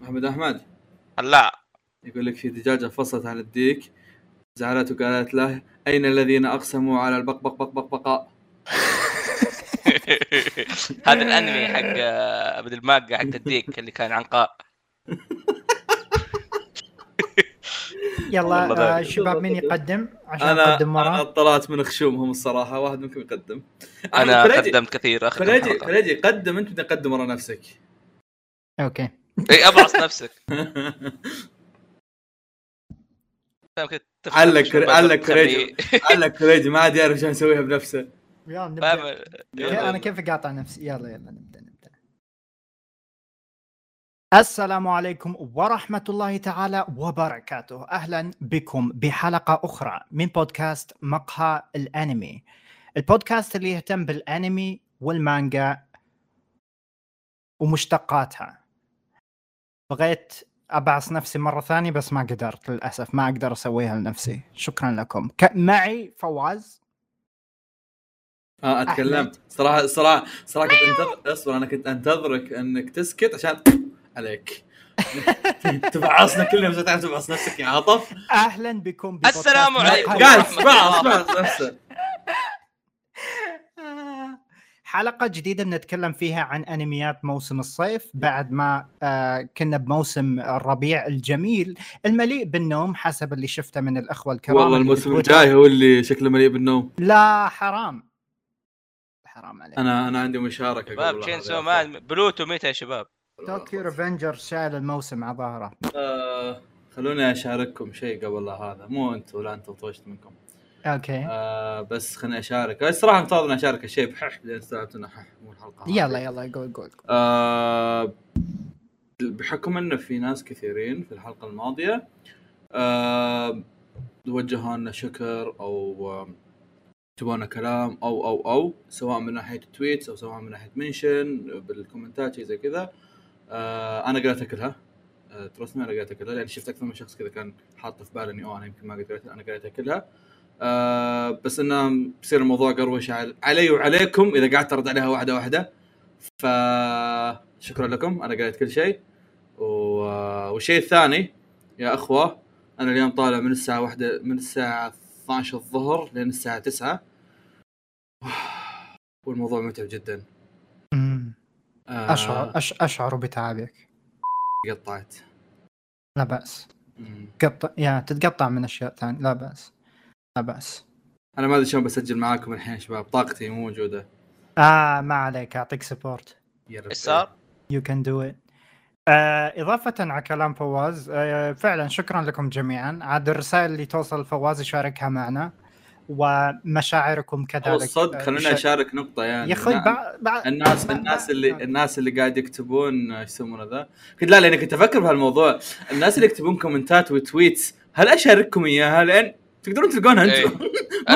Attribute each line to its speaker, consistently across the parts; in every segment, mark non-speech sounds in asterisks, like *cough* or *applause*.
Speaker 1: محمد احمد *laughs*
Speaker 2: هلا
Speaker 1: يقول لك في دجاجه فصلت عن الديك زعلت وقالت له اين الذين اقسموا على البقبق بقبقبقاء
Speaker 2: هذا الانمي حق آه، بدل المانجا حق الديك اللي كان عنقاء
Speaker 1: والله
Speaker 3: يلا آه
Speaker 1: ضايق.
Speaker 3: شباب مين يقدم عشان
Speaker 1: انا
Speaker 3: اقدم
Speaker 1: انا
Speaker 3: مره
Speaker 1: طلعت من خشومهم الصراحه واحد منكم يقدم
Speaker 2: انا
Speaker 1: أحمد آه، فليجي-
Speaker 2: قدمت كثير اخر *laughs*
Speaker 1: فليجي
Speaker 2: حلقة.
Speaker 1: فليجي قدم انت بدنا قدم ورا نفسك
Speaker 3: اوكي
Speaker 2: اي ابعص إيه،
Speaker 1: *laughs*
Speaker 2: نفسك فاهم كده؟ تفتح
Speaker 1: علق-
Speaker 2: شباك
Speaker 1: علق
Speaker 2: وتخلي-
Speaker 1: *laughs* على كريجي ما عاد يعرف شو يسويها بنفسه
Speaker 3: يلا نبدا
Speaker 2: فاهم
Speaker 3: كيف- انا كيف اقاطع نفسي يلا يلا نبدا نبدا السلام عليكم ورحمة الله تعالى وبركاته أهلا بكم بحلقة أخرى من بودكاست مقهى الأنمي البودكاست اللي يهتم بالأنمي والمانجا ومشتقاتها بغيت أبعص نفسي مرة ثانية بس ما قدرت للأسف ما أقدر أسويها لنفسي شكرا لكم ك- معي فواز
Speaker 1: اه اتكلمت صراحه صراحه صراحه كنت انتظر اصبر انا كنت انتظرك انك تسكت عشان عليك تبعصنا كلنا بس تعرف تبعص نفسك يا عاطف
Speaker 3: أهلا بكم ببودكاست
Speaker 2: السلام عليكم.
Speaker 3: مقهى
Speaker 1: قاعد بعص بعص نفسه
Speaker 3: *laughs* حلقة جديدة بنتكلم فيها عن أنميات موسم الصيف
Speaker 1: نعم.
Speaker 3: بعد ما آه، كنا بموسم الربيع الجميل المليء بالنوم حسب اللي شفته من الأخوة الكرام
Speaker 1: والله
Speaker 3: اللي
Speaker 1: الموسم
Speaker 3: بتويتر.
Speaker 1: الجاي هو اللي شكله مليء بالنوم
Speaker 3: لا حرام حرام عليك
Speaker 1: انا انا عندي مشاركه
Speaker 2: شباب
Speaker 1: قبل
Speaker 2: تشين
Speaker 1: هذا.
Speaker 2: سو مان بلوتو متى يا شباب؟
Speaker 3: طوكيو ريفنجر شايل الموسم على ظهره
Speaker 1: آه، خلوني اشارككم شيء قبل هذا مو انتم ولا انتم طوشت منكم
Speaker 3: أوكي
Speaker 1: آه بس خليني اشارك الصراحه مفترض اني اشارك الشيء بحح لان استوعبت انه حح مو الحلقه هذه.
Speaker 3: يلا يلا قول قول
Speaker 1: آه، بحكم انه في ناس كثيرين في الحلقه الماضيه آه، وجهوا لنا شكر او آم، كتبوا لنا كلام او او او سواء من ناحيه تويتس او سواء من ناحيه منشن بالكومنتات شيء زي كذا آه، انا قريتها كلها آه، ترسمي انا قريتها كلها لان شفت اكثر من شخص كذا كان حاط في باله اني اوه انا يمكن ما قد قريتها انا قريتها كلها آه، بس انه بصير الموضوع قروش على- علي وعليكم اذا قعدت ارد عليها واحده واحده فشكرا لكم انا قريت كل شيء و... والشيء الثاني يا اخوه انا اليوم طالع من الساعه واحدة من الساعه 12 الظهر لين الساعه 9 *sighs* والموضوع متعب جدا
Speaker 3: مم.
Speaker 1: آه،
Speaker 3: أشعر أش- أشعر بتعبك
Speaker 1: قطعت
Speaker 3: لا بأس
Speaker 1: مم.
Speaker 3: قطع يا تتقطع من أشياء ثانية لا بأس لا بأس
Speaker 1: انا ما ادري شلون بسجل معاكم الحين شباب طاقتي مو موجوده
Speaker 3: آه ما عليك أعطيك سبورت
Speaker 1: يا رب.
Speaker 2: ايش صار؟
Speaker 3: يو كان دو إت آه إضافة على كلام فواز آه فعلا شكرا لكم جميعا عاد الرسائل اللي توصل لفواز يشاركها معنا ومشاعركم كذلك
Speaker 1: هو الصدق خلينا
Speaker 3: آه،
Speaker 1: اشارك نقطه يعني
Speaker 3: يا اخوي
Speaker 1: نعم.
Speaker 3: بع... بع...
Speaker 1: الناس
Speaker 3: بع-
Speaker 1: الناس
Speaker 3: بع-
Speaker 1: اللي الناس اللي قاعد يكتبون آه، ايش يسمونه ذا؟ كنت لا لاني كنت افكر بهالموضوع، الناس اللي يكتبون كومنتات وتويتس هل اشارككم اياها لان تقدرون تلقونها
Speaker 2: إيه. *laughs*
Speaker 1: انتم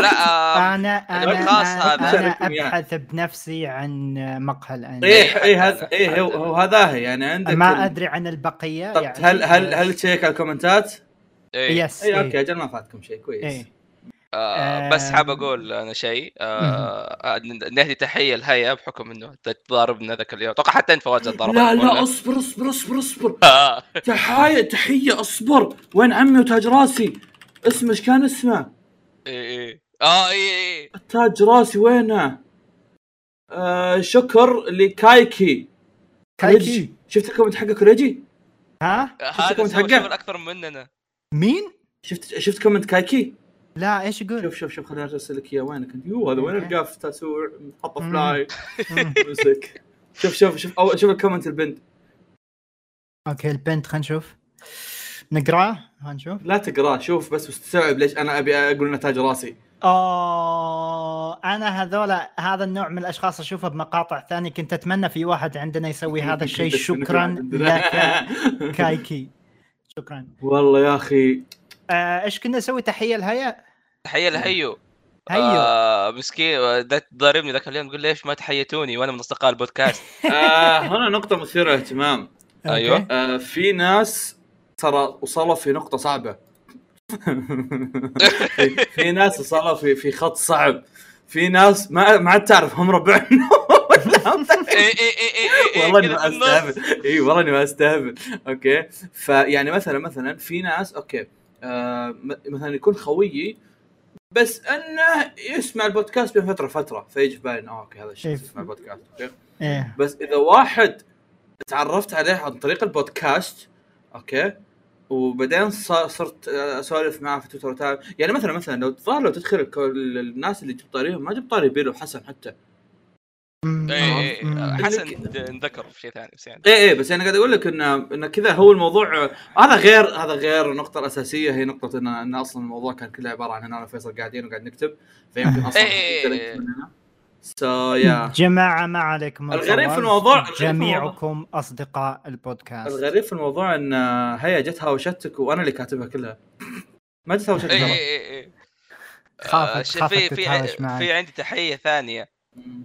Speaker 2: لا
Speaker 1: *laughs*
Speaker 2: آه،
Speaker 3: انا انا
Speaker 2: الخاص
Speaker 3: انا,
Speaker 2: هذا.
Speaker 3: أنا
Speaker 1: شارككم إياه.
Speaker 3: ابحث بنفسي عن مقهى الان
Speaker 1: ايه
Speaker 2: إيه،
Speaker 1: ايه هذا
Speaker 2: حتى-
Speaker 1: ايه هو-
Speaker 2: حتى-
Speaker 1: هو هذا هي يعني عندك ال-
Speaker 3: ما ادري عن البقيه
Speaker 1: طب
Speaker 3: يعني
Speaker 1: هل هل هل تشيك على الكومنتات؟
Speaker 2: إيه.
Speaker 3: يس
Speaker 1: اي
Speaker 3: إيه.
Speaker 1: اوكي اجل ما فاتكم شيء كويس
Speaker 3: إيه.
Speaker 2: آه، بس
Speaker 3: آم.
Speaker 2: حاب اقول انا شيء آه، آه، نهدي تحيه لهيا بحكم انه تضاربنا ذاك اليوم اتوقع حتى انت فواز تضاربنا
Speaker 1: لا لا
Speaker 2: ولا؟
Speaker 1: اصبر اصبر اصبر اصبر
Speaker 2: آه،
Speaker 1: تحايا تحيه اصبر وين عمي وتاج راسي اسمه ايش كان اسمه؟
Speaker 2: إيه، إيه. اه اي اي
Speaker 1: تاج راسي وينه؟ آه شكر لكايكي كوريجي
Speaker 3: كايكي
Speaker 1: شفت الكومنت حق كوريجي؟
Speaker 3: ها
Speaker 2: هذا
Speaker 1: الكومنت
Speaker 2: سوى
Speaker 1: حقه؟
Speaker 2: شغل اكثر مننا
Speaker 3: مين؟
Speaker 1: شفت شفت كومنت كايكي؟
Speaker 3: لا ايش يقول؟
Speaker 1: شوف شوف شوف خليني ارسل لك اياه وينك انت؟ يو هذا وين
Speaker 3: أوكي.
Speaker 1: القاف تاسوع حط
Speaker 3: مم.
Speaker 1: فلاي
Speaker 3: مم.
Speaker 1: مسك شوف شوف شوف أول شوف الكومنت البنت
Speaker 3: اوكي البنت خلينا نشوف نقراه خلينا نشوف
Speaker 1: لا تقراه شوف بس واستوعب ليش انا ابي اقول نتاج راسي
Speaker 3: اوه انا آه، هذولا هذا النوع من الاشخاص اشوفه بمقاطع ثانيه كنت اتمنى في واحد عندنا
Speaker 1: *laughs*
Speaker 3: يسوي هذا الشيء
Speaker 1: بس منكم
Speaker 3: شكرا
Speaker 1: عندنا.
Speaker 3: لك
Speaker 1: *laughs*
Speaker 3: كايكي شكرا
Speaker 1: والله يا اخي
Speaker 3: آه، ايش كنا نسوي تحيه لهيا
Speaker 2: تحيه لهيو
Speaker 3: هيا
Speaker 2: آه مسكين آه، ده ضاربني ذاك اليوم يقول ليش ما تحيتوني وانا من اصدقاء
Speaker 3: *laughs*
Speaker 2: البودكاست
Speaker 1: آه هنا نقطة مثيرة للاهتمام
Speaker 2: أيوة.
Speaker 3: أوكي.
Speaker 1: آه في ناس ترى وصلوا في نقطة صعبة في- في ناس وصلوا في في خط صعب في ناس ما ما عاد تعرف هم ربعنا
Speaker 2: إيه إيه إيه إيه إيه
Speaker 1: والله اني
Speaker 2: كذا
Speaker 1: ما
Speaker 2: في النص.
Speaker 1: استهبل اي والله اني ما استهبل اوكي فيعني مثلا مثلا يعني في ناس اوكي آه م- مثلا يكون خويي بس انه يسمع البودكاست بين فتره فتره فيجي في بالي آه، اوكي هذا الشخص
Speaker 3: شوف.
Speaker 1: يسمع البودكاست أوكي.
Speaker 3: إيه.
Speaker 1: بس اذا واحد تعرفت عليه عن طريق البودكاست اوكي وبعدين ص- صرت آه، اسولف معاه في تويتر وتعال- يعني مثلا مثلا لو الظاهر لو تدخل الك- الناس اللي جبت طاريهم ما جبت طاري بيلو حسن حتى
Speaker 3: أمم،
Speaker 2: إيه إيه
Speaker 3: أمم.
Speaker 2: إيه. حسن انذكر في شيء ثاني بس يعني
Speaker 1: ايه ايه بس انا قاعد اقول لك انه انه كذا هو الموضوع آه، هذا غير هذا غير النقطة الأساسية هي نقطة انه انه اصلا الموضوع كان كله عبارة عن انا وفيصل قاعدين وقاعد نكتب فيمكن اصلا
Speaker 2: إيه إيه إيه.
Speaker 1: سو يا
Speaker 3: جماعة ما عليكم
Speaker 1: الغريب في الموضوع- الغريب في الموضوع-
Speaker 3: جميعكم أصدقاء البودكاست
Speaker 1: الغريب في الموضوع ان آه، هي جت هاوشتك وانا اللي كاتبها كلها ما جت هاوشتك
Speaker 2: إيه
Speaker 1: ترى
Speaker 2: إيه إيه
Speaker 3: خافت-
Speaker 2: آه، شي-
Speaker 3: خافت
Speaker 2: في في
Speaker 3: تتهاوش معي.
Speaker 2: في عندي تحيه ثانيه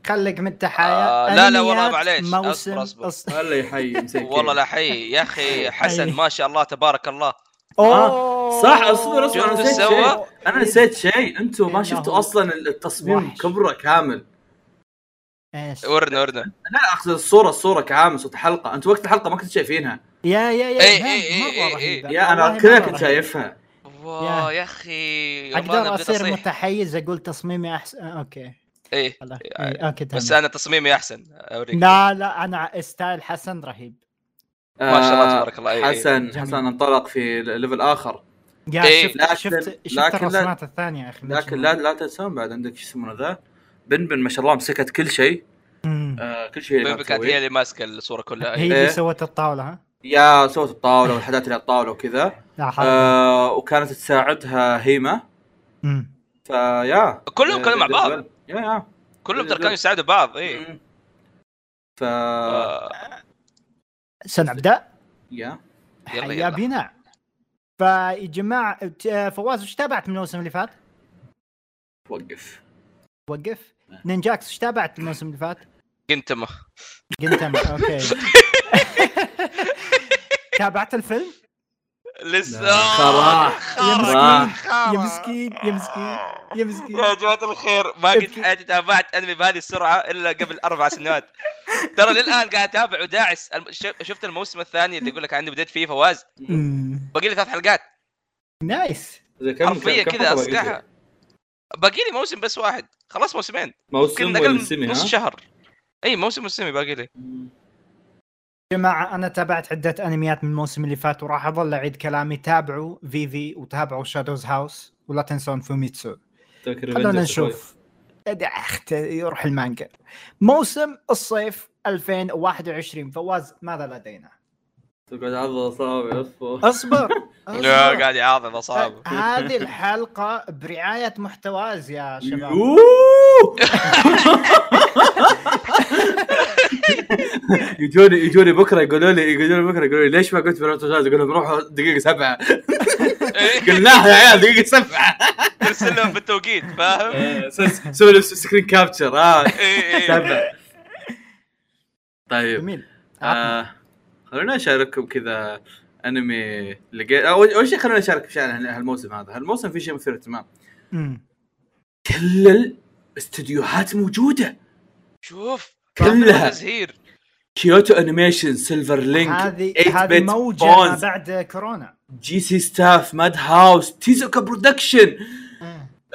Speaker 3: خلق من التحايا
Speaker 2: آه، لا، لا، والله
Speaker 3: أنميات
Speaker 2: معليش. أصبر،
Speaker 3: موسم
Speaker 2: أصبر.
Speaker 3: أص...
Speaker 1: الله يحيي مساكين
Speaker 2: والله لا حي يا
Speaker 3: *laughs*
Speaker 2: اخي حسن
Speaker 3: أي.
Speaker 2: ما شاء الله تبارك الله
Speaker 3: أوه.
Speaker 1: آه، صح، أصبر، أصبر،
Speaker 2: أنا نسيت سوى؟
Speaker 1: انا نسيت شيء انتم ما
Speaker 3: إنه
Speaker 1: شفتوا اصلا التصميم
Speaker 3: وحش.
Speaker 1: كبره كامل
Speaker 3: إيش؟
Speaker 2: ورنا ورنا
Speaker 1: لا اقصد الصوره الصورة كامل صوت الحلقة انتم وقت الحلقة ما كنتوا شايفينها
Speaker 3: يا يا يا
Speaker 2: إيه،
Speaker 3: إيهاب،
Speaker 2: إيه، إيه،
Speaker 3: مرة
Speaker 2: إيه،
Speaker 3: رهيبة.
Speaker 1: يا انا
Speaker 3: والله
Speaker 1: كذا
Speaker 3: مرة
Speaker 1: كنت
Speaker 3: رهيبة.
Speaker 1: شايفها
Speaker 2: واو يا اخي
Speaker 3: اقدر
Speaker 2: رمضان بدي
Speaker 3: اصير
Speaker 2: اصيح
Speaker 3: متحيز اقول تصميمي احسن اوكي
Speaker 2: ايه
Speaker 3: خلاص
Speaker 2: إيه،
Speaker 3: إيه، اوكي تمام
Speaker 2: بس انا تصميمي احسن اوريك
Speaker 3: لا لا انا استايل حسن رهيب
Speaker 2: ما شاء الله
Speaker 1: آه،
Speaker 2: تبارك الله، إيه، إي، إي.
Speaker 1: حسن
Speaker 3: جميل.
Speaker 1: حسن انطلق في ليفل اخر
Speaker 3: يا
Speaker 2: إيه،
Speaker 3: شفت
Speaker 1: لكن-
Speaker 3: شفت شفت
Speaker 1: لكن لا-
Speaker 3: الرسمات الثانيه يا اخي
Speaker 1: لكن لا لا تنسون بعد عندك شو اسمه ذا بن بن ما شاء الله مسكت كل شيء
Speaker 3: مم.
Speaker 1: آه كل شيء
Speaker 2: بيبي
Speaker 1: قاعد
Speaker 2: كانت هي
Speaker 1: تسويه.
Speaker 2: اللي ماسكه الصوره كلها
Speaker 3: هي
Speaker 2: إيه.
Speaker 1: إيه.
Speaker 3: اللي سوت الطاوله ها
Speaker 1: يا صوت الطاوله والحاجات اللي على الطاوله وكذا
Speaker 3: لا حرام.
Speaker 1: آه وكانت تساعدها هيمه
Speaker 3: مم.
Speaker 1: فيا
Speaker 2: كلهم كانوا مع بعض
Speaker 1: يا يا
Speaker 2: كلهم ترى كانوا يساعدوا بعض إيه. اي
Speaker 1: مم. ف
Speaker 2: آه.
Speaker 1: يا
Speaker 3: سنبدا
Speaker 2: يلا،
Speaker 3: حيا
Speaker 2: يلا.
Speaker 3: بنا فيا جماعه ت- فواز وش تابعت من الموسم اللي فات؟
Speaker 1: وقف
Speaker 3: وقف
Speaker 1: آه.
Speaker 3: نينجاكس وش تابعت من الموسم اللي فات؟
Speaker 2: كنت ما
Speaker 3: قلت أنا، اوكي تابعت الفيلم؟
Speaker 2: لسه
Speaker 1: لا، خرا.
Speaker 3: يا
Speaker 2: خرا.
Speaker 3: مسكين
Speaker 2: خرا.
Speaker 3: يا مسكين يا مسكين يا مسكين
Speaker 2: يا جماعة الخير ما قد
Speaker 3: ابكي.
Speaker 2: حياتي تابعت انمي بهذه السرعة الا قبل اربع سنوات ترى للان قاعد اتابع وداعس الم- ش- شفت الموسم الثاني اللي يقول لك عندي بديت فيه فواز
Speaker 3: مم.
Speaker 2: باقي لي ثلاث حلقات
Speaker 3: نايس
Speaker 1: زي كم-
Speaker 2: حرفيا
Speaker 1: كم
Speaker 2: كذا
Speaker 1: حلقة باقي
Speaker 2: اصقعها
Speaker 1: لك؟
Speaker 2: باقي لي موسم بس واحد خلاص موسمين
Speaker 1: موسم
Speaker 2: كنا
Speaker 1: ولا
Speaker 2: اقل
Speaker 1: سيمي
Speaker 2: من نص
Speaker 1: ها؟
Speaker 2: شهر اي موسم موسمي باقي لي
Speaker 3: جماعة أنا تابعت عدة أنميات من الموسم اللي فات وراح أظل أعيد كلامي تابعوا فيفي وتابعوا شادوز هاوس ولا تنسون فوميتسو
Speaker 1: تذكر
Speaker 3: خلونا
Speaker 1: Avengers
Speaker 3: نشوف يا أخت يروح المانجا موسم الصيف 2021 فواز ماذا لدينا؟
Speaker 1: شوي. تقعد عض اصابع اصبر
Speaker 3: اصبر
Speaker 2: لا
Speaker 3: أصبر.
Speaker 2: قاعد يعاضد
Speaker 3: طيب.
Speaker 2: اصابعه
Speaker 3: هذه الحلقة برعاية محتواز يا *laughs* شباب
Speaker 1: يوه! *laughs* يجوني يجوني بكره يقولوا لي يقولوا لي بكره يقولوا لي ليش ما قلت بالبودكاست؟ اقول لهم روحوا دقيقه *laughs* سبعه قلناها يا عيال دقيقه سبعه
Speaker 3: *laughs*
Speaker 2: ترسل إيه. لهم بالتوقيت
Speaker 1: إيه.
Speaker 2: فاهم؟
Speaker 1: س- سوي لي سكرين كابتشر اه
Speaker 2: إيه، إيه.
Speaker 1: سبعه طيب
Speaker 3: جميل عطنا.
Speaker 1: آه خلونا اشارككم كذا انمي لقيت اول أول شيء خلونا نشارك في شيء عن هالموسم هذا، هالموسم في شيء مثير اهتمام
Speaker 3: مم.
Speaker 1: كل الاستديوهات موجوده
Speaker 2: شوف
Speaker 1: كلها.
Speaker 2: تزهير
Speaker 1: كيوتو انيميشن سيلفر لينك
Speaker 3: هذه
Speaker 1: 8
Speaker 3: هذه
Speaker 1: بت
Speaker 3: موجة ما
Speaker 1: بونز
Speaker 3: بعد كورونا
Speaker 1: جي سي ستاف ماد هاوس تيزوكا برودكشن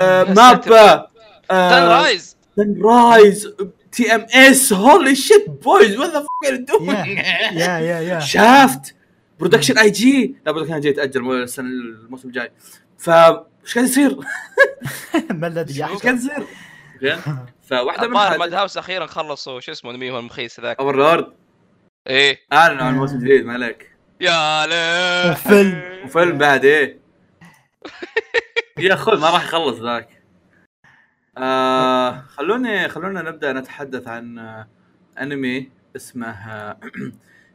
Speaker 1: آه،
Speaker 2: يا
Speaker 1: مابا
Speaker 2: سن رايز
Speaker 1: سن رايز تي ام اس هولي شيت بويز وات ذا *laughs* فوك
Speaker 3: يا يا يا
Speaker 1: شافت برودكشن اي جي لا برودكشن اي جي تاجل مو- السنه الموسم الجاي ف ايش قاعد يصير؟
Speaker 3: ما الذي
Speaker 1: ايش
Speaker 3: يحدث
Speaker 1: قاعد يصير؟ أوكي؟ *laughs* فواحده من
Speaker 2: الظاهر ماد
Speaker 1: هذه-
Speaker 2: هاوس اخيرا خلصوا شو اسمه مين هو المخيس ذاك
Speaker 1: اوفرلورد
Speaker 2: ايه
Speaker 1: اعلنوا عن موسم جديد ما عليك
Speaker 2: يا ليه
Speaker 3: فيلم.
Speaker 1: وفيلم بعد ايه يا اخوي ما راح يخلص ذاك آه خلوني خلونا نبدا نتحدث عن آه، انمي اسمه آه، *clears throat*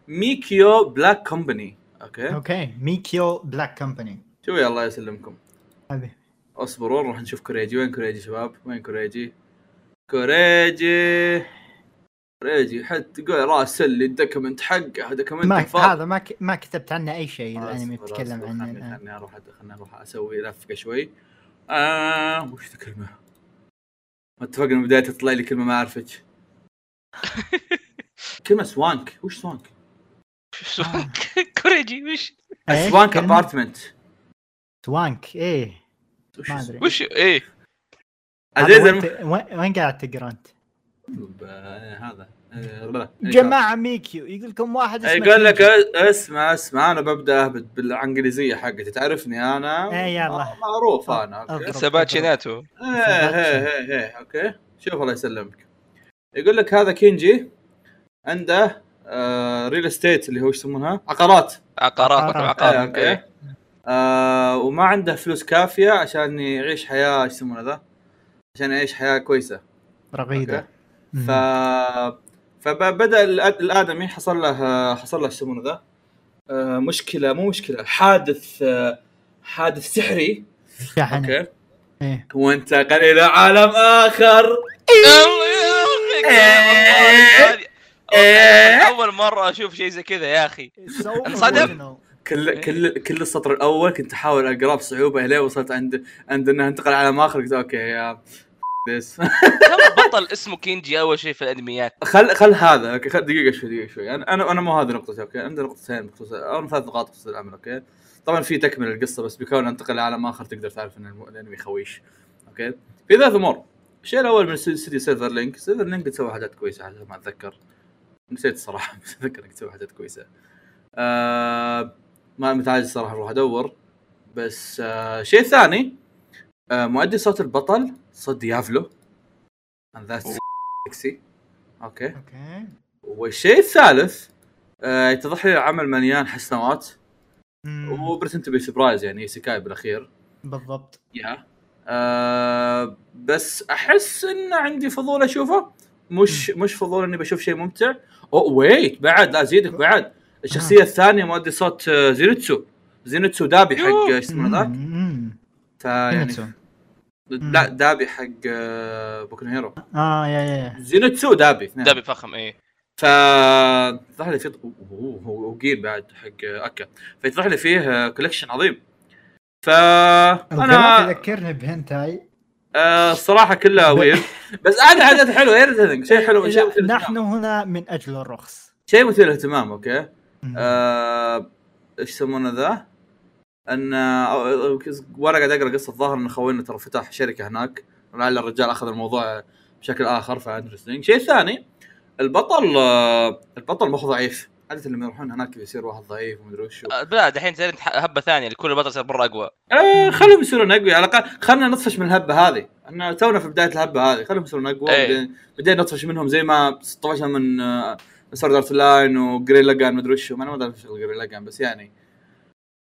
Speaker 1: ميكيو بلاك كومباني اوكي
Speaker 3: اوكي ميكيو بلاك كومباني
Speaker 1: شوف يا الله يسلمكم
Speaker 3: هذه
Speaker 1: اصبروا نروح نشوف كوريجي وين كوريجي شباب وين كوريجي كوريجي كوريجي حتى قول راسل لي الدكمنت حقه دكمنت
Speaker 3: ما
Speaker 1: الفاضي.
Speaker 3: هذا ما ك... ما كتبت عنه اي شيء الانمي
Speaker 1: أصبر،
Speaker 3: بتتكلم
Speaker 1: أصبر،
Speaker 3: عنه
Speaker 1: خلني-
Speaker 3: الان
Speaker 1: خلني اروح خلني اروح اسوي لفقه شوي آه وش ذا الكلمه؟ ما اتفقنا من البدايه تطلع لي كلمه ما اعرفك كلمه سوانك وش سوانك؟
Speaker 2: *laughs* كوريجي وش
Speaker 3: إيه،
Speaker 1: سوانك
Speaker 3: كلمة
Speaker 1: ابارتمنت
Speaker 3: سوانك ايه
Speaker 1: وش
Speaker 3: ما
Speaker 1: اسمه؟
Speaker 3: أدري.
Speaker 2: وش ايه
Speaker 3: هذا
Speaker 1: عزيز
Speaker 3: وين
Speaker 1: الم...
Speaker 3: ت- وين- وين قاعد تقرا انت؟
Speaker 1: ب- هذا آه، لا.
Speaker 3: جماعه ميكيو يقول لكم واحد اسمه
Speaker 1: إيه، يقول لك
Speaker 3: كيجي.
Speaker 1: اسمع اسمع انا ببدا بال- بالانجليزيه حقتي تعرفني انا
Speaker 3: إيه، يلا.
Speaker 1: معروف انا اوكي
Speaker 3: أضرب.
Speaker 2: سباتشيناتو
Speaker 1: ايه ايه ايه ايه اوكي شوف الله يسلمك يقول لك هذا كينجي عنده آه ريل استيت اللي هو ايش يسمونها عقارات
Speaker 2: عقارات مطلب
Speaker 1: آه
Speaker 2: عقار
Speaker 1: اوكي
Speaker 2: إيه.
Speaker 1: آه وما عنده فلوس كافيه عشان يعيش حياه ايش يسمونه ذا عشان يعيش حياه كويسه
Speaker 3: رغيده
Speaker 1: أوكي.
Speaker 3: مم.
Speaker 1: ف فبدا الأد- الادمي حصل له آه، حصل له ايش يسمونه ذا آه مشكله مو مشكله حادث آه حادث سحري
Speaker 3: شحن
Speaker 1: اوكي
Speaker 3: إيه.
Speaker 1: وانتقل الى عالم اخر
Speaker 2: الله يا أخي،
Speaker 1: إيه.
Speaker 2: والله هذه- والله اول مره اشوف شيء زي كذا يا اخي
Speaker 3: So
Speaker 2: انصدم؟
Speaker 3: original.
Speaker 1: كل كل كل السطر الاول كنت احاول اقراه بصعوبه اليه وصلت عند عند انه انتقل على ما اخر قلت اوكي يا this. *laughs*
Speaker 2: كم بطل اسمه كينجي اول شيء في الانميات
Speaker 1: خل خل هذا اوكي خل دقيقه شوي دقيقه شوي انا انا انا مو هذه نقطتي اوكي عندي نقطتين بخصوص او ثلاث نقاط بخصوص العمل اوكي طبعا في تكمل القصه بس بكون انتقل لعالم اخر تقدر تعرف ان الم- الانمي خويش اوكي في ثلاث امور الشيء الاول من استوديو سيلفر لينك سيلفر لينك تسوي حاجات كويسه حسب ما اتذكر نسيت الصراحه *laughs* بس اتذكر انك تسوي حاجات كويسه آه ما متعجز صراحه اروح ادور بس آه شيء ثاني آه مؤدي صوت البطل صوت ديافلو and that's sexy اوكي
Speaker 3: اوكي
Speaker 1: والشيء الثالث آه، يتضح لي العمل مليان حسنوات
Speaker 3: مم.
Speaker 1: وبرتنت بي سبرايز يعني سكاي بالاخير
Speaker 3: بالضبط
Speaker 1: يا آه بس احس ان عندي فضول اشوفه مش مش فضول اني بشوف شيء ممتع او ويت بعد لا زيدك بعد الشخصيه الثانيه مؤدي صوت آه، زينتسو زينتسو دابي حق
Speaker 2: يوه.
Speaker 1: آه، ايش اسمه آه، يعني. ذاك
Speaker 3: مم.
Speaker 1: فيعني
Speaker 3: كيميتسو.
Speaker 1: لا دابي حق آه، بوكو نو هيرو
Speaker 3: اه يا يا يا
Speaker 1: زينتسو دابي اثنين.
Speaker 2: دبي فخم ايه
Speaker 1: ف يطرح لي فيه وقيل بعد حق اكا فيطرح لي فيه كولكشن عظيم ف
Speaker 3: انا
Speaker 1: انا
Speaker 3: ذكرني بهنتاي
Speaker 1: آه، الصراحه كلها ويرد *laughs* بس انا حاجات حلوه ايرثينج شيء حلو شيء مثير
Speaker 3: نحن
Speaker 1: اهتمام
Speaker 3: هنا من اجل الرخص
Speaker 1: شيء مثير اهتمام اوكي
Speaker 3: مم.
Speaker 1: آه، ايش يسمونه ذا؟ ان آه، وانا قاعد اقرا قصه الظاهر ان خوينا ترى فتح شركه هناك لعل الرجال اخذ الموضوع بشكل اخر فانترستنج شيء ثاني البطل آه، البطل مو ضعيف عاده لما يروحون هناك يصير واحد ضعيف ومدري وشو
Speaker 2: آه، لا دحين صارت ح- هبه ثانيه لكل بطل صار مره اقوى
Speaker 1: آه خلهم يصيرون اقوى على الاقل خلينا نطفش من الهبه هذه احنا تونا في بدايه الهبه هذه خلهم يصيرون اقوى
Speaker 2: إيه.
Speaker 1: بعدين- بعدين نطفش منهم زي ما طفشنا من آه، سورد ارت لاين وجرين لاجان مدري وشو ما انا ما ادري ايش جرين لاجان بس يعني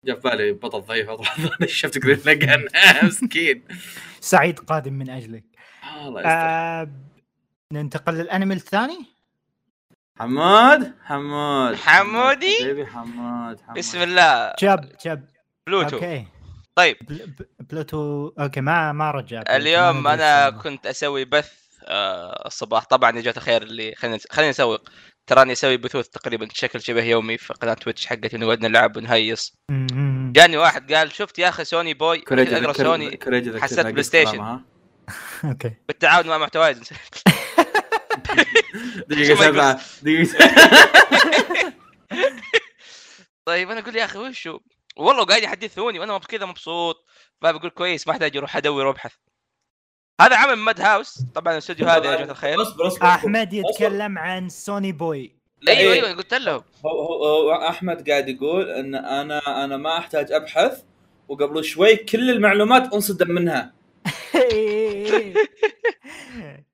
Speaker 1: جاء في بالي بطل ضعيف *laughs* أطلع- شفت جرين لاجان *laughs* مسكين
Speaker 3: سعيد قادم من اجلك
Speaker 1: آه، الله يستر
Speaker 3: آه ننتقل للانمي الثاني
Speaker 1: حماد حماد
Speaker 2: حمودي؟
Speaker 1: حبيبي حماد حماد
Speaker 2: بسم الله
Speaker 3: جاب جاب
Speaker 2: بلوتو
Speaker 3: اوكي
Speaker 2: طيب
Speaker 3: بل- ب- بلوتو اوكي ما ما رجع بلوتو،
Speaker 2: اليوم
Speaker 3: ما أدري
Speaker 2: انا
Speaker 3: شلون.
Speaker 2: كنت اسوي بث آه، الصباح طبعا يا جماعه الخير اللي خلينا خلينا نسوق تراني اسوي بثوث تقريبا بشكل شبه يومي في قناه تويتش حقتي نقعد نلعب ونهيص
Speaker 3: مم.
Speaker 2: جاني واحد قال شفت يا اخي سوني بوي
Speaker 1: كوريجي
Speaker 2: كنت اقرا
Speaker 1: ذكر-
Speaker 2: سوني
Speaker 1: كوريجي ذكرنا
Speaker 2: حسيت بلاي
Speaker 1: قصة
Speaker 2: ستيشن.
Speaker 1: لما،
Speaker 3: اوكي
Speaker 2: بالتعاون مع محتوايز
Speaker 1: ها؟ دقيقه
Speaker 2: شو ما يقص.
Speaker 1: سبعه دقيقه
Speaker 2: *laughs* طيب انا اقول يا اخي وشو والله قاعد يحدثوني وانا مب- كذا مبسوط فبقول كويس ما احتاج اروح ادور وابحث هذا عمل ماد هاوس طبعا الاستوديو هذا يا جماعه الخير
Speaker 1: اصبر اصبر
Speaker 3: احمد يتكلم عن سوني بوي *laughs*
Speaker 2: ايوه ايوه قلت لهم
Speaker 1: هو, هو, هو احمد قاعد يقول ان انا انا ما احتاج ابحث وقبل شوي كل المعلومات انصدم منها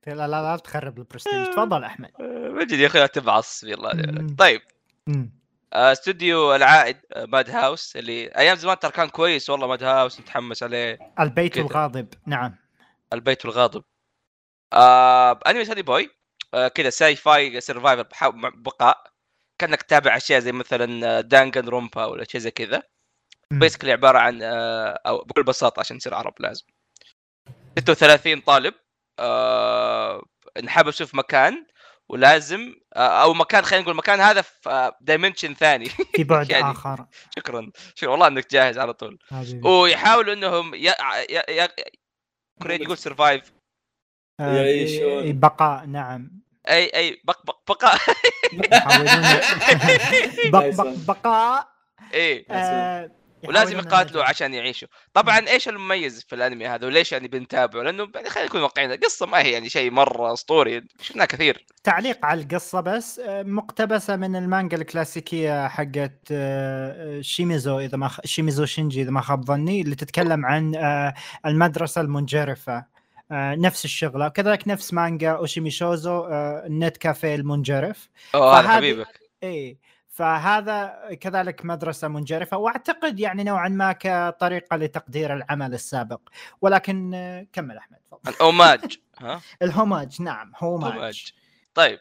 Speaker 3: لا لا لا تخرب البرستيج تفضل احمد
Speaker 2: آه، مجد يا اخي لا تبعص بالله
Speaker 3: مم.
Speaker 2: عليك. طيب
Speaker 3: مم.
Speaker 2: آه، استوديو العائد آه، ماد هاوس اللي ايام زمان ترى كان كويس والله ماد هاوس متحمس عليه
Speaker 3: البيت
Speaker 2: كذا.
Speaker 3: الغاضب نعم
Speaker 2: البيت الغاضب آه انمي سادي بوي آه كذا ساي فاي سرفايفر بقاء كانك تتابع اشياء زي مثلا دانجن رومبا ولا شيء زي كذا
Speaker 3: مم.
Speaker 2: بيسكلي عباره عن آه، او بكل بساطه عشان نصير عرب لازم 36 طالب آه، انحبسوا في مكان ولازم آه، او مكان خلينا نقول مكان هذا في دايمنشن ثاني *laughs*
Speaker 3: في بعد
Speaker 2: يعني.
Speaker 3: اخر
Speaker 2: شكرا شكرا والله انك جاهز على طول
Speaker 3: حبيبي.
Speaker 2: ويحاولوا انهم ي... ي... ي... كوريجي يقول سرفايف
Speaker 3: آه،
Speaker 1: يعيشون.
Speaker 3: بقاء نعم
Speaker 2: اي اي بق بق *laughs* بقاء
Speaker 3: يحاولون-
Speaker 2: *laughs*
Speaker 3: بق- بق- بقاء
Speaker 2: اي
Speaker 3: آه،
Speaker 2: إيه. ولازم
Speaker 3: يحاولون
Speaker 2: يقاتلوا
Speaker 3: إنه-
Speaker 2: عشان يعيشوا طبعا ايش المميز في الانمي هذا وليش يعني بنتابعه لانه يعني خلينا نكون واقعيين القصه ما هي يعني شيء مره اسطوري شفناه كثير
Speaker 3: تعليق على القصه بس آه، مقتبسه من المانجا الكلاسيكيه حقت آه، آه، شيميزو اذا ما خ... شيميزو شينجي اذا ما خاب ظني اللي تتكلم عن آه، المدرسه المنجرفه آه، نفس الشغله وكذلك نفس مانجا اوشيمي شوزو آه، النت كافيه المنجرف
Speaker 2: اوه هذا
Speaker 3: فهذه-
Speaker 2: حبيبك
Speaker 3: اي إيه، فهذا كذلك مدرسه منجرفه واعتقد يعني نوعا ما كطريقه لتقدير العمل السابق ولكن آه، كمل احمد تفضل.
Speaker 2: الاوماج ها
Speaker 3: الهوماج نعم
Speaker 2: أوماج.
Speaker 3: هوماج
Speaker 2: طيب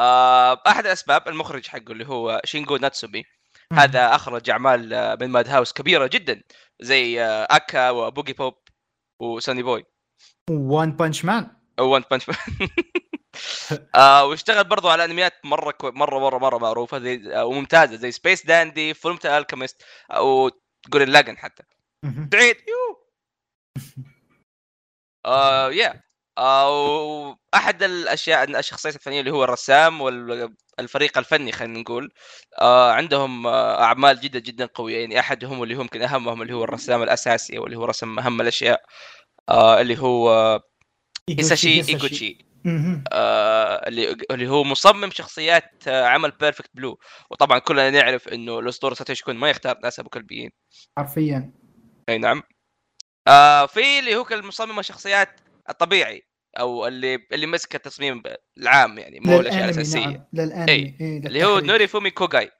Speaker 2: آه، احد الاسباب المخرج حقه اللي هو شينجو ناتسومي هذا اخرج اعمال آه، من ماد هاوس كبيره جدا زي آه، اكا وبوجي بوب وساني بوي
Speaker 3: وان بانش مان
Speaker 2: او ون بانش *laughs* آه واشتغل برضو على انميات مره كو... مره مره مره معروفه زي آه وممتازه زي سبيس داندي فيلم الكيمست او جورين لاجن حتى سعيد يو *laughs* آه يا او احد الاشياء الشخصيات الفنيه اللي هو الرسام والفريق الفني خلينا نقول آه عندهم آه اعمال جدا جدا قويه يعني احدهم اللي هو يمكن اهمهم اللي هو الرسام الاساسي واللي هو رسم اهم الاشياء آه اللي هو آه هيساشي ايجوتشي
Speaker 3: مهم.
Speaker 2: آه، اللي اللي هو مصمم شخصيات آه، عمل بيرفكت بلو وطبعا كلنا نعرف انه الاسطوره ساتوشي كون ما يختار ناس ابو كلبيين
Speaker 3: حرفيا
Speaker 2: اي نعم آه في اللي هو كان مصمم الشخصيات الطبيعي او اللي اللي مسك التصميم ب- العام يعني مو الاشياء
Speaker 3: للأنمي،
Speaker 2: الاساسيه
Speaker 3: نعم. للانمي
Speaker 2: إي.
Speaker 3: إي،
Speaker 2: إيه. اللي هو
Speaker 3: للتحريك.
Speaker 2: نوري فومي كوغاي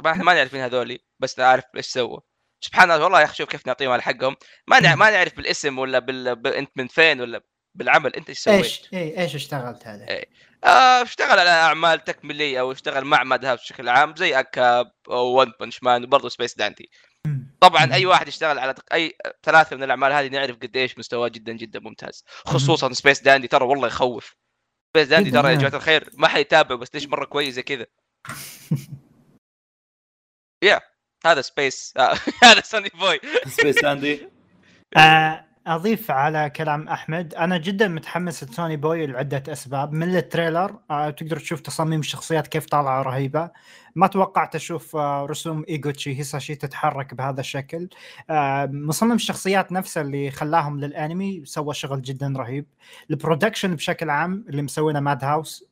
Speaker 2: طبعا احنا ما نعرفين هذولي بس نعرف ايش سووا سبحان الله والله يا اخي شوف كيف نعطيهم على حقهم ما
Speaker 3: نعم.
Speaker 2: نع- ما نعرف بالاسم ولا بال... ب- انت من فين ولا بالعمل انت ايش سويت
Speaker 3: ايش اي ايش إيه، اشتغلت هذا؟
Speaker 2: آه، اشتغل على اعمال تكميليه واشتغل مع ماد هاوس بشكل عام زي اكاب وون بنش مان وبرضه سبيس دانتي طبعا اي واحد يشتغل على تق- اي ثلاثه من الاعمال هذه نعرف قديش مستواه جدا جدا ممتاز خصوصا سبيس داندي ترى والله يخوف سبيس داندي
Speaker 3: جداً،
Speaker 2: ترى يا
Speaker 3: نعم.
Speaker 2: جماعه الخير ما حيتابع بس ليش مره كويس زي كذا يا هذا سبيس *laughs* هذا سوني بوي
Speaker 1: سبيس اندي
Speaker 3: آه، اضيف على كلام احمد انا جدا متحمس لسوني بوي لعده اسباب من التريلر آه، تقدر تشوف تصاميم الشخصيات كيف طالعه رهيبه ما توقعت اشوف آه، رسوم ايجوتشي هيساشي تتحرك بهذا الشكل آه، مصمم الشخصيات نفسه اللي خلاهم للانمي سوى شغل جدا رهيب البرودكشن بشكل عام اللي مسوينه ماد هاوس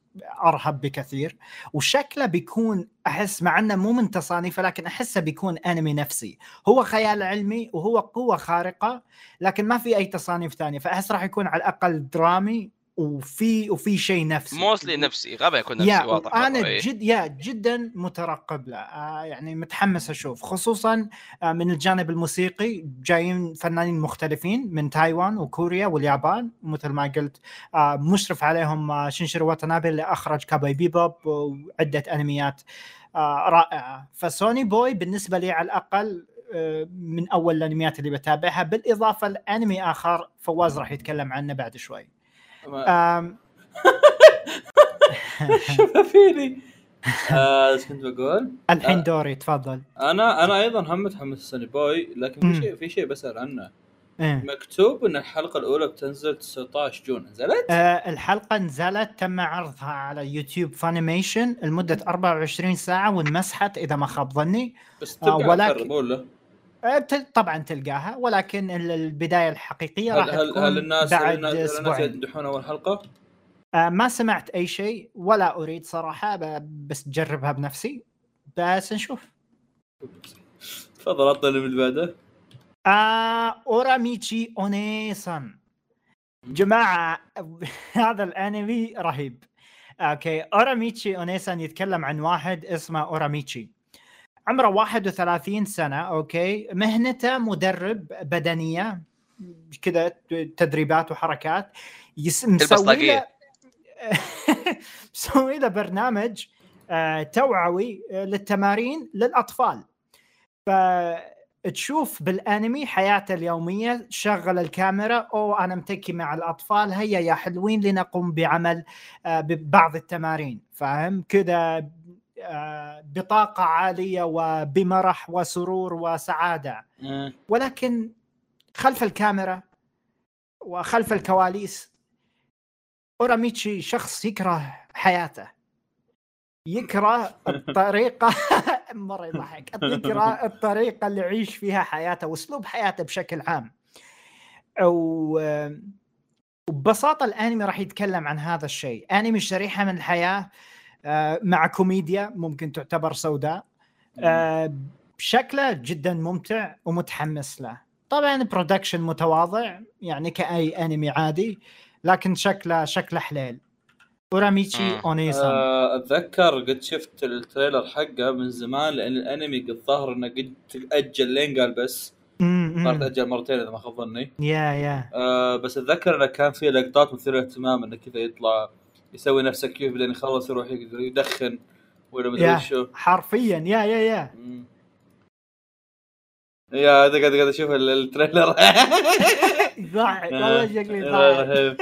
Speaker 3: ارهب بكثير وشكله بيكون احس مع انه مو من تصانيفه لكن احسه بيكون انمي نفسي هو خيال علمي وهو قوه خارقه لكن ما في اي تصانيف ثانيه فاحس راح يكون على الاقل درامي وفي وفي شيء نفسي
Speaker 2: موستلي نفسي غبي يكون
Speaker 3: يا
Speaker 2: نفسي واضح مرة،
Speaker 3: انا
Speaker 2: إيه.
Speaker 3: جد يا جدا مترقب له آه، يعني متحمس اشوف خصوصا آه، من الجانب الموسيقي جايين فنانين مختلفين من تايوان وكوريا واليابان مثل ما قلت آه، مشرف عليهم آه، شينشيرو واتانابي اللي اخرج كاباي بيبوب وعده انميات آه، رائعه فسوني بوي بالنسبه لي على الاقل آه، من اول الانميات اللي بتابعها بالاضافه لانمي اخر فواز راح يتكلم عنه بعد شوي آم،
Speaker 1: شوفها فيني آه، ايش كنت بقول؟
Speaker 3: الحين دوري تفضل
Speaker 1: انا انا ايضا هم متحمس سوني بوي لكن في
Speaker 3: مم.
Speaker 1: شيء في شيء بسال عنه
Speaker 3: إيه.
Speaker 1: مكتوب ان الحلقه الاولى بتنزل 19 جون نزلت؟
Speaker 3: آه، الحلقة نزلت تم عرضها على يوتيوب فانيميشن لمدة 24 ساعة وانمسحت إذا ما خاب ظني
Speaker 1: بس
Speaker 3: آه،
Speaker 1: تبقى
Speaker 3: ولكن-
Speaker 1: على الفر، مو ولا
Speaker 3: آه، تل- طبعا تلقاها ولكن ال- البداية الحقيقية راح
Speaker 1: هل هل,
Speaker 3: تكون
Speaker 1: هل الناس هل
Speaker 3: بعد
Speaker 1: الناس- هل الناس
Speaker 3: أسبوعين
Speaker 1: يمدحون اول حلقه؟
Speaker 3: آه، ما سمعت أي شيء ولا أريد صراحة ب- بس جربها بنفسي بس نشوف
Speaker 1: تفضل عطنا اللي من بعده
Speaker 3: آه، أوراميتشي أونيسان جماعة *laughs* هذا الأنمي رهيب اوكي اوراميتشي اونيسان يتكلم عن واحد اسمه اوراميتشي عمره 31 سنه اوكي مهنته مدرب بدنيه كذا تدريبات وحركات يس... مسوي له
Speaker 2: طاقية.
Speaker 3: *laughs* مسوي له برنامج آه، توعوي آه، للتمارين للاطفال فتشوف بالانمي حياته اليوميه شغل الكاميرا او انا متكي مع الاطفال هيا يا حلوين لنقوم بعمل آه، ببعض التمارين فاهم كذا آه، بطاقه عاليه وبمرح وسرور وسعاده ولكن خلف الكاميرا وخلف الكواليس اوراميتشي شخص يكره حياته يكره *laughs* الطريقه مره يضحك يكره الطريقه اللي يعيش فيها حياته واسلوب حياته بشكل عام او وببساطه الانمي راح يتكلم عن هذا الشيء انمي شريحه من الحياه آه، مع كوميديا ممكن تعتبر سوداء آه، شكله جدا ممتع ومتحمس له طبعا برودكشن متواضع يعني كاي انمي عادي لكن شكله شكله حليل اوراميتشي
Speaker 2: مم.
Speaker 3: اونيسان
Speaker 1: آه، اتذكر قد شفت التريلر حقه من زمان لان الانمي قد ظهر انه قد تاجل لين قال بس
Speaker 3: مم،
Speaker 1: صار
Speaker 3: مم.
Speaker 1: تاجل مرتين اذا ما خاب ظني
Speaker 3: يا يا
Speaker 1: آه، بس اتذكر انه كان في لقطات مثيره للاهتمام انه كذا يطلع يسوي نفسه كيف بعدين يخلص يروح يقدر يدخن ولا مدري
Speaker 3: يا.
Speaker 1: شو
Speaker 3: حرفيا يا يا يا
Speaker 1: مم. يا هذا قاعد قاعد اشوف ال- التريلر *laughs*
Speaker 3: ضاع والله شكلي ضاع
Speaker 1: رهيب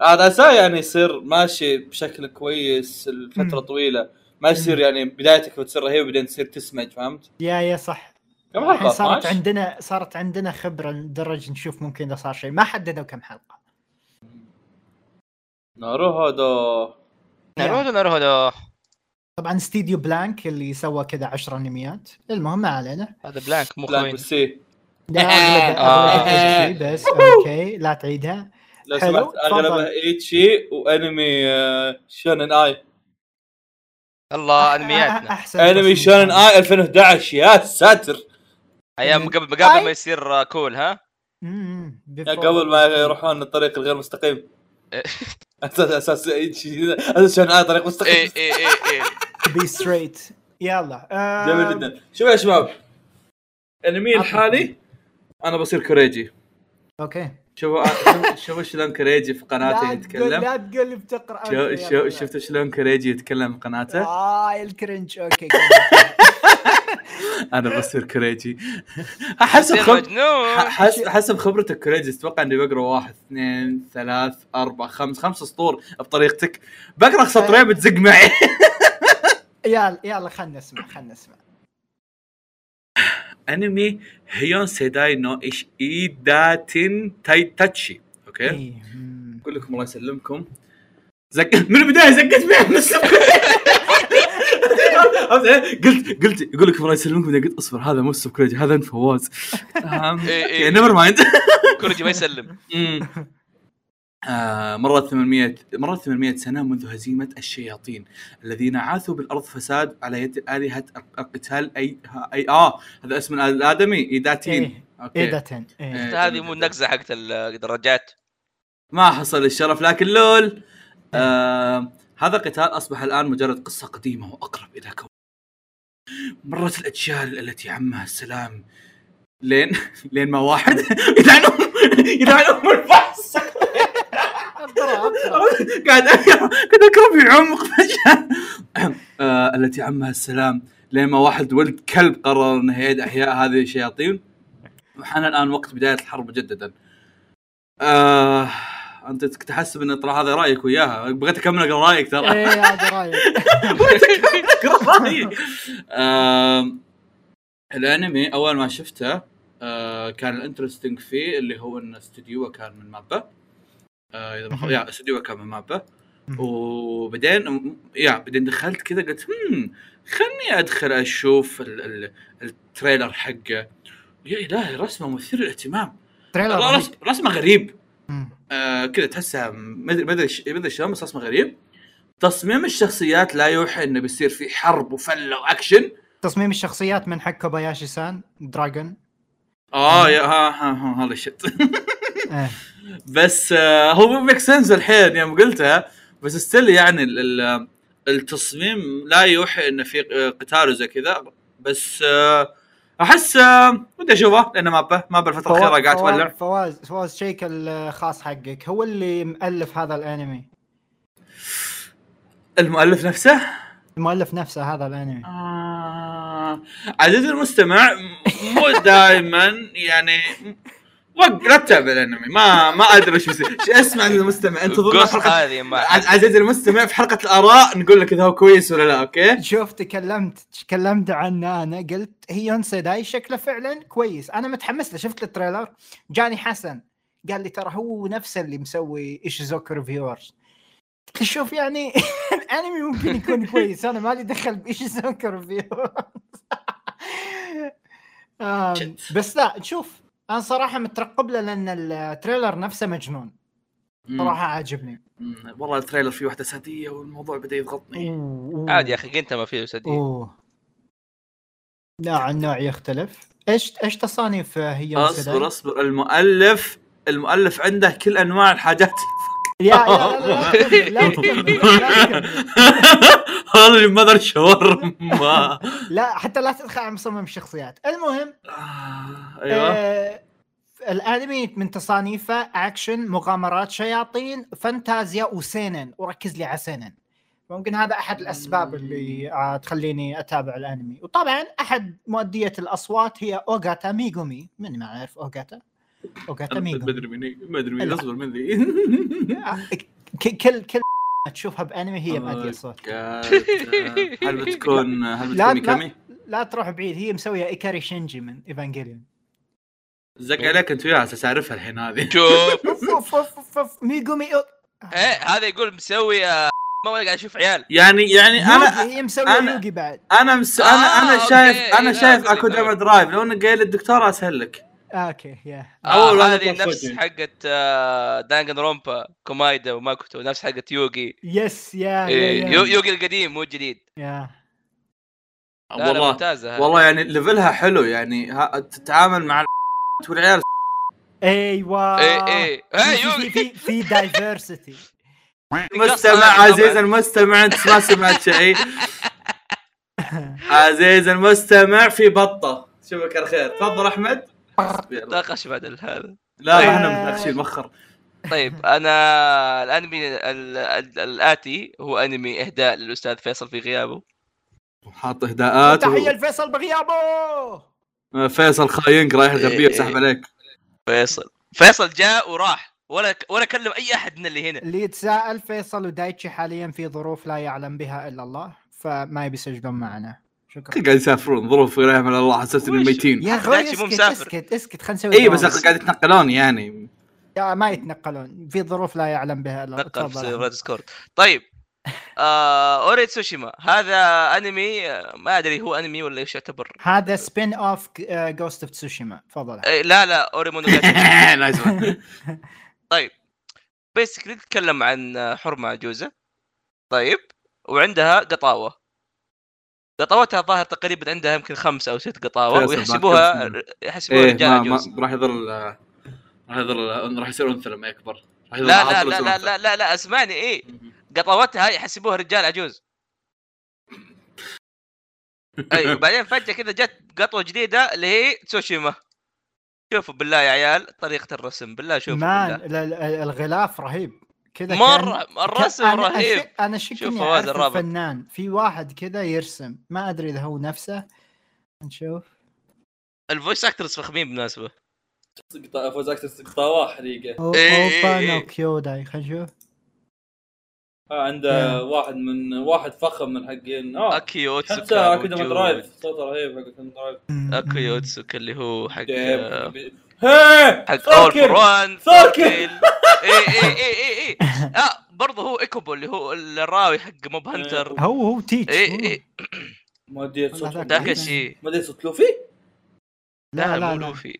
Speaker 1: عاد عساه يعني يصير ماشي بشكل كويس لفتره
Speaker 3: مم.
Speaker 1: طويله ما يصير
Speaker 3: مم.
Speaker 1: يعني بدايتك بتصير رهيبه بعدين تصير تسمج فهمت؟
Speaker 3: يا يا صح
Speaker 1: كم
Speaker 3: الحين
Speaker 1: حلقه؟
Speaker 3: صارت
Speaker 1: 12
Speaker 3: عندنا صارت عندنا خبره لدرجه نشوف ممكن اذا صار شيء ما حددوا كم حلقه
Speaker 1: ناروهودو
Speaker 2: ناروهودو ناروهودو
Speaker 3: طبعا استديو بلانك اللي سوى كذا 10 انميات المهم ما علينا
Speaker 2: هذا بلانك مو
Speaker 1: بلانك
Speaker 2: خوين
Speaker 1: بالسي *laughs*
Speaker 3: لا أغلب-
Speaker 2: آه.
Speaker 3: أغلب هذا الشيء بس اوكي لا تعيدها
Speaker 1: لو
Speaker 3: حلو،
Speaker 1: سمحت اغلبها
Speaker 3: تفضل.
Speaker 1: ايتشي وانمي E آه، شونن اي
Speaker 2: الله
Speaker 3: *laughs* أح-
Speaker 2: انمياتنا
Speaker 3: احسن
Speaker 1: انمي
Speaker 3: تصميم.
Speaker 1: شونن اي 2011 يا ساتر إيه.
Speaker 2: ايام قبل قبل ما يصير آه، كول ها
Speaker 3: أمم، before-
Speaker 1: يا قبل ما يروحون الطريق الغير مستقيم
Speaker 2: إيه.
Speaker 1: اساس اساس ايتشي اساس شونن اي طريق مستقيم
Speaker 2: اي اي اي
Speaker 1: *laughs*
Speaker 2: اي
Speaker 3: to be straight يلا آه،
Speaker 1: جميل جدا شوف يا شباب انمي الحالي انا بصير كوريجي
Speaker 3: اوكي
Speaker 1: شوف آه، شوف شلون كوريجي في قناته
Speaker 3: لا تقول
Speaker 1: يتكلم
Speaker 3: لا تقول بتقرا
Speaker 1: شو
Speaker 3: أوكي،
Speaker 1: شو
Speaker 3: يلا.
Speaker 1: شفت شلون كوريجي يتكلم في قناته
Speaker 3: اه الكرنج اوكي
Speaker 1: انا بصير كوريجي حسب
Speaker 2: يصير
Speaker 1: خب...
Speaker 2: مجنون
Speaker 1: حسب حسب خبرتك كوريجي اتوقع اني بقرا واحد اثنين ثلاث اربع خمس خمس سطور بطريقتك بقرا
Speaker 3: طيب.
Speaker 1: سطرين بتزق معي
Speaker 3: يلا يلا خلنا نسمع خلنا نسمع
Speaker 1: انمي هيون سيداي نو ايش ايداتين تاي تاتشي اوكي
Speaker 3: إيه، أمم.
Speaker 1: اقول لكم الله يسلمكم زق *laughs* من البدايه زقت معي من السبب. عرفت إيه؟ قلت قلت يقول لكم الله يسلمكم بعدين قلت اصبر هذا مو السكريجي هذا انت فواز
Speaker 2: إيه، إيه.
Speaker 1: نيفر مايند
Speaker 2: كوريجي ما يسلم
Speaker 1: *laughs* مم. آه، مرت 800 مرت 800 سنة منذ هزيمة الشياطين الذين عاثوا بالأرض فساد على يد آلهة القتال أي, أي آه هذا اسم الآدمي إيداتين
Speaker 3: إيه،
Speaker 1: أوكي
Speaker 3: ايه داتن إيه.
Speaker 1: إيه،
Speaker 2: هذه
Speaker 1: جميل
Speaker 2: مو
Speaker 1: جداً.
Speaker 2: النقزه حقت الدراجات
Speaker 1: ما حصل الشرف لكن لول آه هذا القتال أصبح الآن مجرد قصة قديمة وأقرب إلى كون مرت الأجيال التي عمها السلام لين لين ما واحد *laughs* يلعنهم يلعنهم الفحص
Speaker 3: أقرأ، أقرأ.
Speaker 1: *laughs* قاعد أقرأ- قاعد اقرا في عمق فجاه *clears throat* آه، التي عمها السلام لما واحد ولد كلب قرر انه يعيد احياء هذه الشياطين وحان الان وقت بدايه الحرب مجددا آه انت تحسب ان ترى هذا رايك وياها بغيت اكمل اقرا رايك ترى *laughs*
Speaker 3: ايه هذا رايك
Speaker 1: كرهي آم، الانمي اول آه، ما شفته آه، كان الانترستنج فيه اللي هو ان استديوه كان من مابا آه، اذا ما خاب- يا استديوه كان من مابا
Speaker 3: مهم.
Speaker 1: وبعدين م- يا بعدين دخلت كذا قلت هم خلني ادخل اشوف ال- ال- التريلر حقه يا الهي رسمه مثير للاهتمام
Speaker 3: تريلر
Speaker 1: رس-
Speaker 3: رهيب.
Speaker 1: رسمه غريب
Speaker 3: أمم.
Speaker 1: آه، كذا تحسها م- ما ادري ما ادري ش- ما ادري شلون بس رسمه غريب تصميم الشخصيات لا يوحي انه بيصير في حرب وفله واكشن
Speaker 3: تصميم الشخصيات من حق كوباياشي سان دراجون
Speaker 1: اه يا ها ها ها هذا الشت
Speaker 3: إيه.
Speaker 1: بس آه هو ميك سنس الحين يوم قلتها بس ستيل يعني ال- ال- التصميم لا يوحي انه في آه، قتال وزي كذا بس آه احس آه، ودي اشوفه لانه مابا مابا الفتره
Speaker 3: فواز-
Speaker 1: الاخيره قاعد
Speaker 3: فواز-
Speaker 1: تولع
Speaker 3: فواز فواز شيك الخاص حقك هو اللي مؤلف هذا الانمي
Speaker 1: المؤلف نفسه
Speaker 3: المؤلف نفسه هذا الانمي
Speaker 1: آه، عزيزي المستمع م- مو دائما يعني وق لا تتابع الانمي ما ما ادري ايش بيصير إيش اسمع عزيزي المستمع انتظرنا
Speaker 2: القصة
Speaker 1: حلقه
Speaker 2: هذه ما
Speaker 1: عز- عزيزي المستمع في حلقه الاراء نقول لك اذا هو كويس ولا لا
Speaker 3: *laughs*
Speaker 1: اوكي
Speaker 3: شوف تكلمت تكلمت عنه انا قلت هيون سيداي شكله فعلا كويس انا متحمس له شفت التريلر جاني حسن قال لي ترى هو نفسه اللي مسوي ايشيزوك ريفيورز شوف يعني *laughs* الانمي ممكن يكون كويس انا مالي دخل بايش يسوون كرفيو *laughs* آم، بس لا نشوف انا صراحه مترقب له لان التريلر نفسه مجنون
Speaker 1: مم.
Speaker 3: صراحه عاجبني
Speaker 1: مم. والله التريلر فيه واحده ساديه والموضوع بدا يضغطني
Speaker 2: عادي يا اخي جنتا ما فيه سدي
Speaker 3: اوه نوعا نوع يختلف ايش ايش تصانيف هي
Speaker 1: اصبر اصبر المؤلف المؤلف عنده كل انواع الحاجات *laughs*
Speaker 3: يا يا لا لا لا تكمل، لا تكمل.
Speaker 1: هذا اللي مذر شاورما
Speaker 3: لا حتى لا تدخل على مصمم الشخصيات المهم
Speaker 1: آه، ايوه
Speaker 3: آه، الانمي من تصانيفه اكشن مغامرات شياطين فانتازيا وسينن وركز لي على سينن ممكن هذا احد الاسباب اللي آه، تخليني اتابع الانمي وطبعا احد مؤديه الاصوات هي اوغاتا ميغومي من ما يعرف اوغاتا اوغاتا
Speaker 1: ما
Speaker 3: ميغومي
Speaker 1: ادري مين ما ادري مين
Speaker 3: لا.
Speaker 1: اصبر من
Speaker 3: *laughs*
Speaker 1: ذي
Speaker 3: ك- كل كل تشوفها بانمي هي مؤديه
Speaker 1: قالت،
Speaker 3: صوت
Speaker 1: آه، هل بتكون هل
Speaker 3: لا،
Speaker 1: بتكون كامي؟
Speaker 3: لا تروح بعيد هي مسويه ايكاري شينجي من ايفانجيليون
Speaker 1: زق عليك انت وياها على اساس اعرفها الحين هذه
Speaker 2: شوف
Speaker 3: *laughs* أوف، أوف، أوف، أوف، أوف، ميغومي أو- آه.
Speaker 2: ايه هذا يقول مسوي آه، ما ولا قاعد اشوف عيال
Speaker 1: يعني يعني انا
Speaker 3: يوغي، هي مسويه
Speaker 1: أنا-
Speaker 3: يوغي بعد
Speaker 1: انا مس... انا انا
Speaker 2: آه،
Speaker 1: شايف
Speaker 2: أوكي.
Speaker 1: انا
Speaker 2: لا،
Speaker 1: شايف
Speaker 2: أدري،
Speaker 1: اكوداما
Speaker 2: أدري.
Speaker 1: درايف لو انك قايل للدكتور اسهلك
Speaker 3: اوكي آه، يا
Speaker 1: أول
Speaker 2: آه
Speaker 1: واحد
Speaker 2: هذه
Speaker 1: يطلع
Speaker 2: نفس
Speaker 1: صوتي.
Speaker 2: حقت دانجن رومبا كومايدا وماكوتو نفس حقت يوغي
Speaker 3: يس يا
Speaker 2: إيه،
Speaker 3: يا-
Speaker 2: يو-
Speaker 3: يا
Speaker 2: يوغي القديم مو الجديد
Speaker 3: يا
Speaker 2: لا لا
Speaker 1: والله
Speaker 2: ممتازه هذه.
Speaker 1: والله يعني ليفلها حلو يعني ها- تتعامل مع ال- *laughs*
Speaker 2: *laughs*
Speaker 1: والعيال
Speaker 3: ايوه
Speaker 2: ايه ايه إيه،
Speaker 3: في- في
Speaker 2: يوغي
Speaker 3: في في
Speaker 2: *laughs*
Speaker 3: دايفرسيتي
Speaker 1: مستمع عزيز المستمع انت ما سمعت شيء عزيز المستمع في بطه شوفك على خير تفضل احمد لا
Speaker 2: ناقش بدل هذا
Speaker 1: لا،
Speaker 3: طيب.
Speaker 1: احنا متناقشين مؤخر
Speaker 2: طيب انا الانمي ال- ال- الاتي هو انمي اهداء للاستاذ فيصل في غيابه
Speaker 1: حاط اهداءات
Speaker 3: تحيه لفيصل بغيابه
Speaker 1: و- فيصل خاينك رايح الغربيه
Speaker 2: إيه.
Speaker 1: وسحب عليك
Speaker 2: فيصل فيصل جاء وراح ولا ولا كلم اي احد من اللي هنا
Speaker 3: اللي يتساءل فيصل ودايتشي حاليا في ظروف لا يعلم بها الا الله فما يبي يسجلون معنا شكرا
Speaker 2: *laughs*
Speaker 1: قاعد يسافرون ظروف لا يعلم إلا الله حسست انهم
Speaker 2: وش؟
Speaker 1: ميتين
Speaker 3: يا اخوي
Speaker 2: دايتشي مو
Speaker 3: اسكت
Speaker 2: مسافر. إيه،
Speaker 3: اسكت اسكت خلينا نسوي
Speaker 1: اي بس
Speaker 3: دوام.
Speaker 1: قاعد يتنقلون
Speaker 2: *laughs*
Speaker 1: يعني *laughs*
Speaker 3: يا آه، ما يتنقلون في ظروف لا يعلم بها الا الله
Speaker 2: نقل في
Speaker 3: تفضل
Speaker 2: سيرفر
Speaker 3: أحمد.
Speaker 2: ديسكورد طيب آه اوريت سوشيما هذا انمي آه، ما ادري هو انمي ولا ايش يعتبر
Speaker 3: هذا آه، سبين اوف جوست اوف تسوشيما تفضل أحمد.
Speaker 2: آه، لا لا اوريمون
Speaker 3: *laughs*
Speaker 1: نايس one.
Speaker 2: بيسكلي تتكلم عن آه، حرمه عجوزه طيب وعندها قطاوه قطاوتها ظاهر تقريبا عندها يمكن خمس او ست قطاوه
Speaker 1: فيصل بعد
Speaker 2: ويحسبوها
Speaker 1: كم
Speaker 2: يحسبوها
Speaker 1: ايه
Speaker 2: رجال
Speaker 1: ما,
Speaker 2: عجوز
Speaker 1: ما راح يظل راح يظل راح يصير انثى لما يكبر راح يظل
Speaker 2: لا لا
Speaker 1: عاطل
Speaker 2: لا
Speaker 1: يصير
Speaker 2: لا
Speaker 1: أنثى.
Speaker 2: لا لا, لا اسمعني ايه قطاوتها يحسبوها رجال عجوز
Speaker 1: *laughs*
Speaker 2: اي
Speaker 4: *laughs*
Speaker 2: وبعدين فجاه كذا جت قطوه جديده اللي هي تسوشيما شوفوا بالله يا عيال طريقه الرسم بالله شوفوا
Speaker 3: مان
Speaker 2: بالله
Speaker 3: ال- ال- الغلاف رهيب كذا
Speaker 2: مره
Speaker 3: كان-
Speaker 2: الرسم
Speaker 3: أنا
Speaker 2: رهيب
Speaker 3: أشك- انا شك
Speaker 2: شوف
Speaker 3: اني
Speaker 2: فواز
Speaker 3: اعرف
Speaker 2: الرابط.
Speaker 3: الفنان في واحد كذا يرسم ما ادري اذا هو نفسه نشوف
Speaker 2: الفويس اكترز فخمين بالمناسبه
Speaker 1: قطاع فوز اكتس قطاوه حريقه
Speaker 3: أو-
Speaker 2: إيه، إيه،
Speaker 3: اوبا
Speaker 2: إيه.
Speaker 3: نو كيوداي خلينا نشوف
Speaker 4: آه، عنده واحد من واحد فخم من حقين
Speaker 3: آه،
Speaker 4: اه
Speaker 2: اكيو
Speaker 4: حتى
Speaker 2: اوتسوكا
Speaker 4: اكاديمي درايف صوته رهيب حق اكاديمي درايف
Speaker 2: اكيو اوتسوكا اللي هو حق
Speaker 4: هي
Speaker 2: آه، حق اول
Speaker 4: فاكر.
Speaker 2: فران
Speaker 4: فاكر.
Speaker 2: اي اي اي اي اه برضه هو ايكوبو اللي هو الراوي حق موب
Speaker 1: إيه.
Speaker 2: هانتر
Speaker 3: هو هو تيتش
Speaker 2: اي
Speaker 3: هو.
Speaker 2: اي
Speaker 4: ما ادري صوت
Speaker 3: ذاك
Speaker 4: ما
Speaker 2: تاكاشي
Speaker 4: ادري صوت لوفي
Speaker 2: لا لا مو لوفي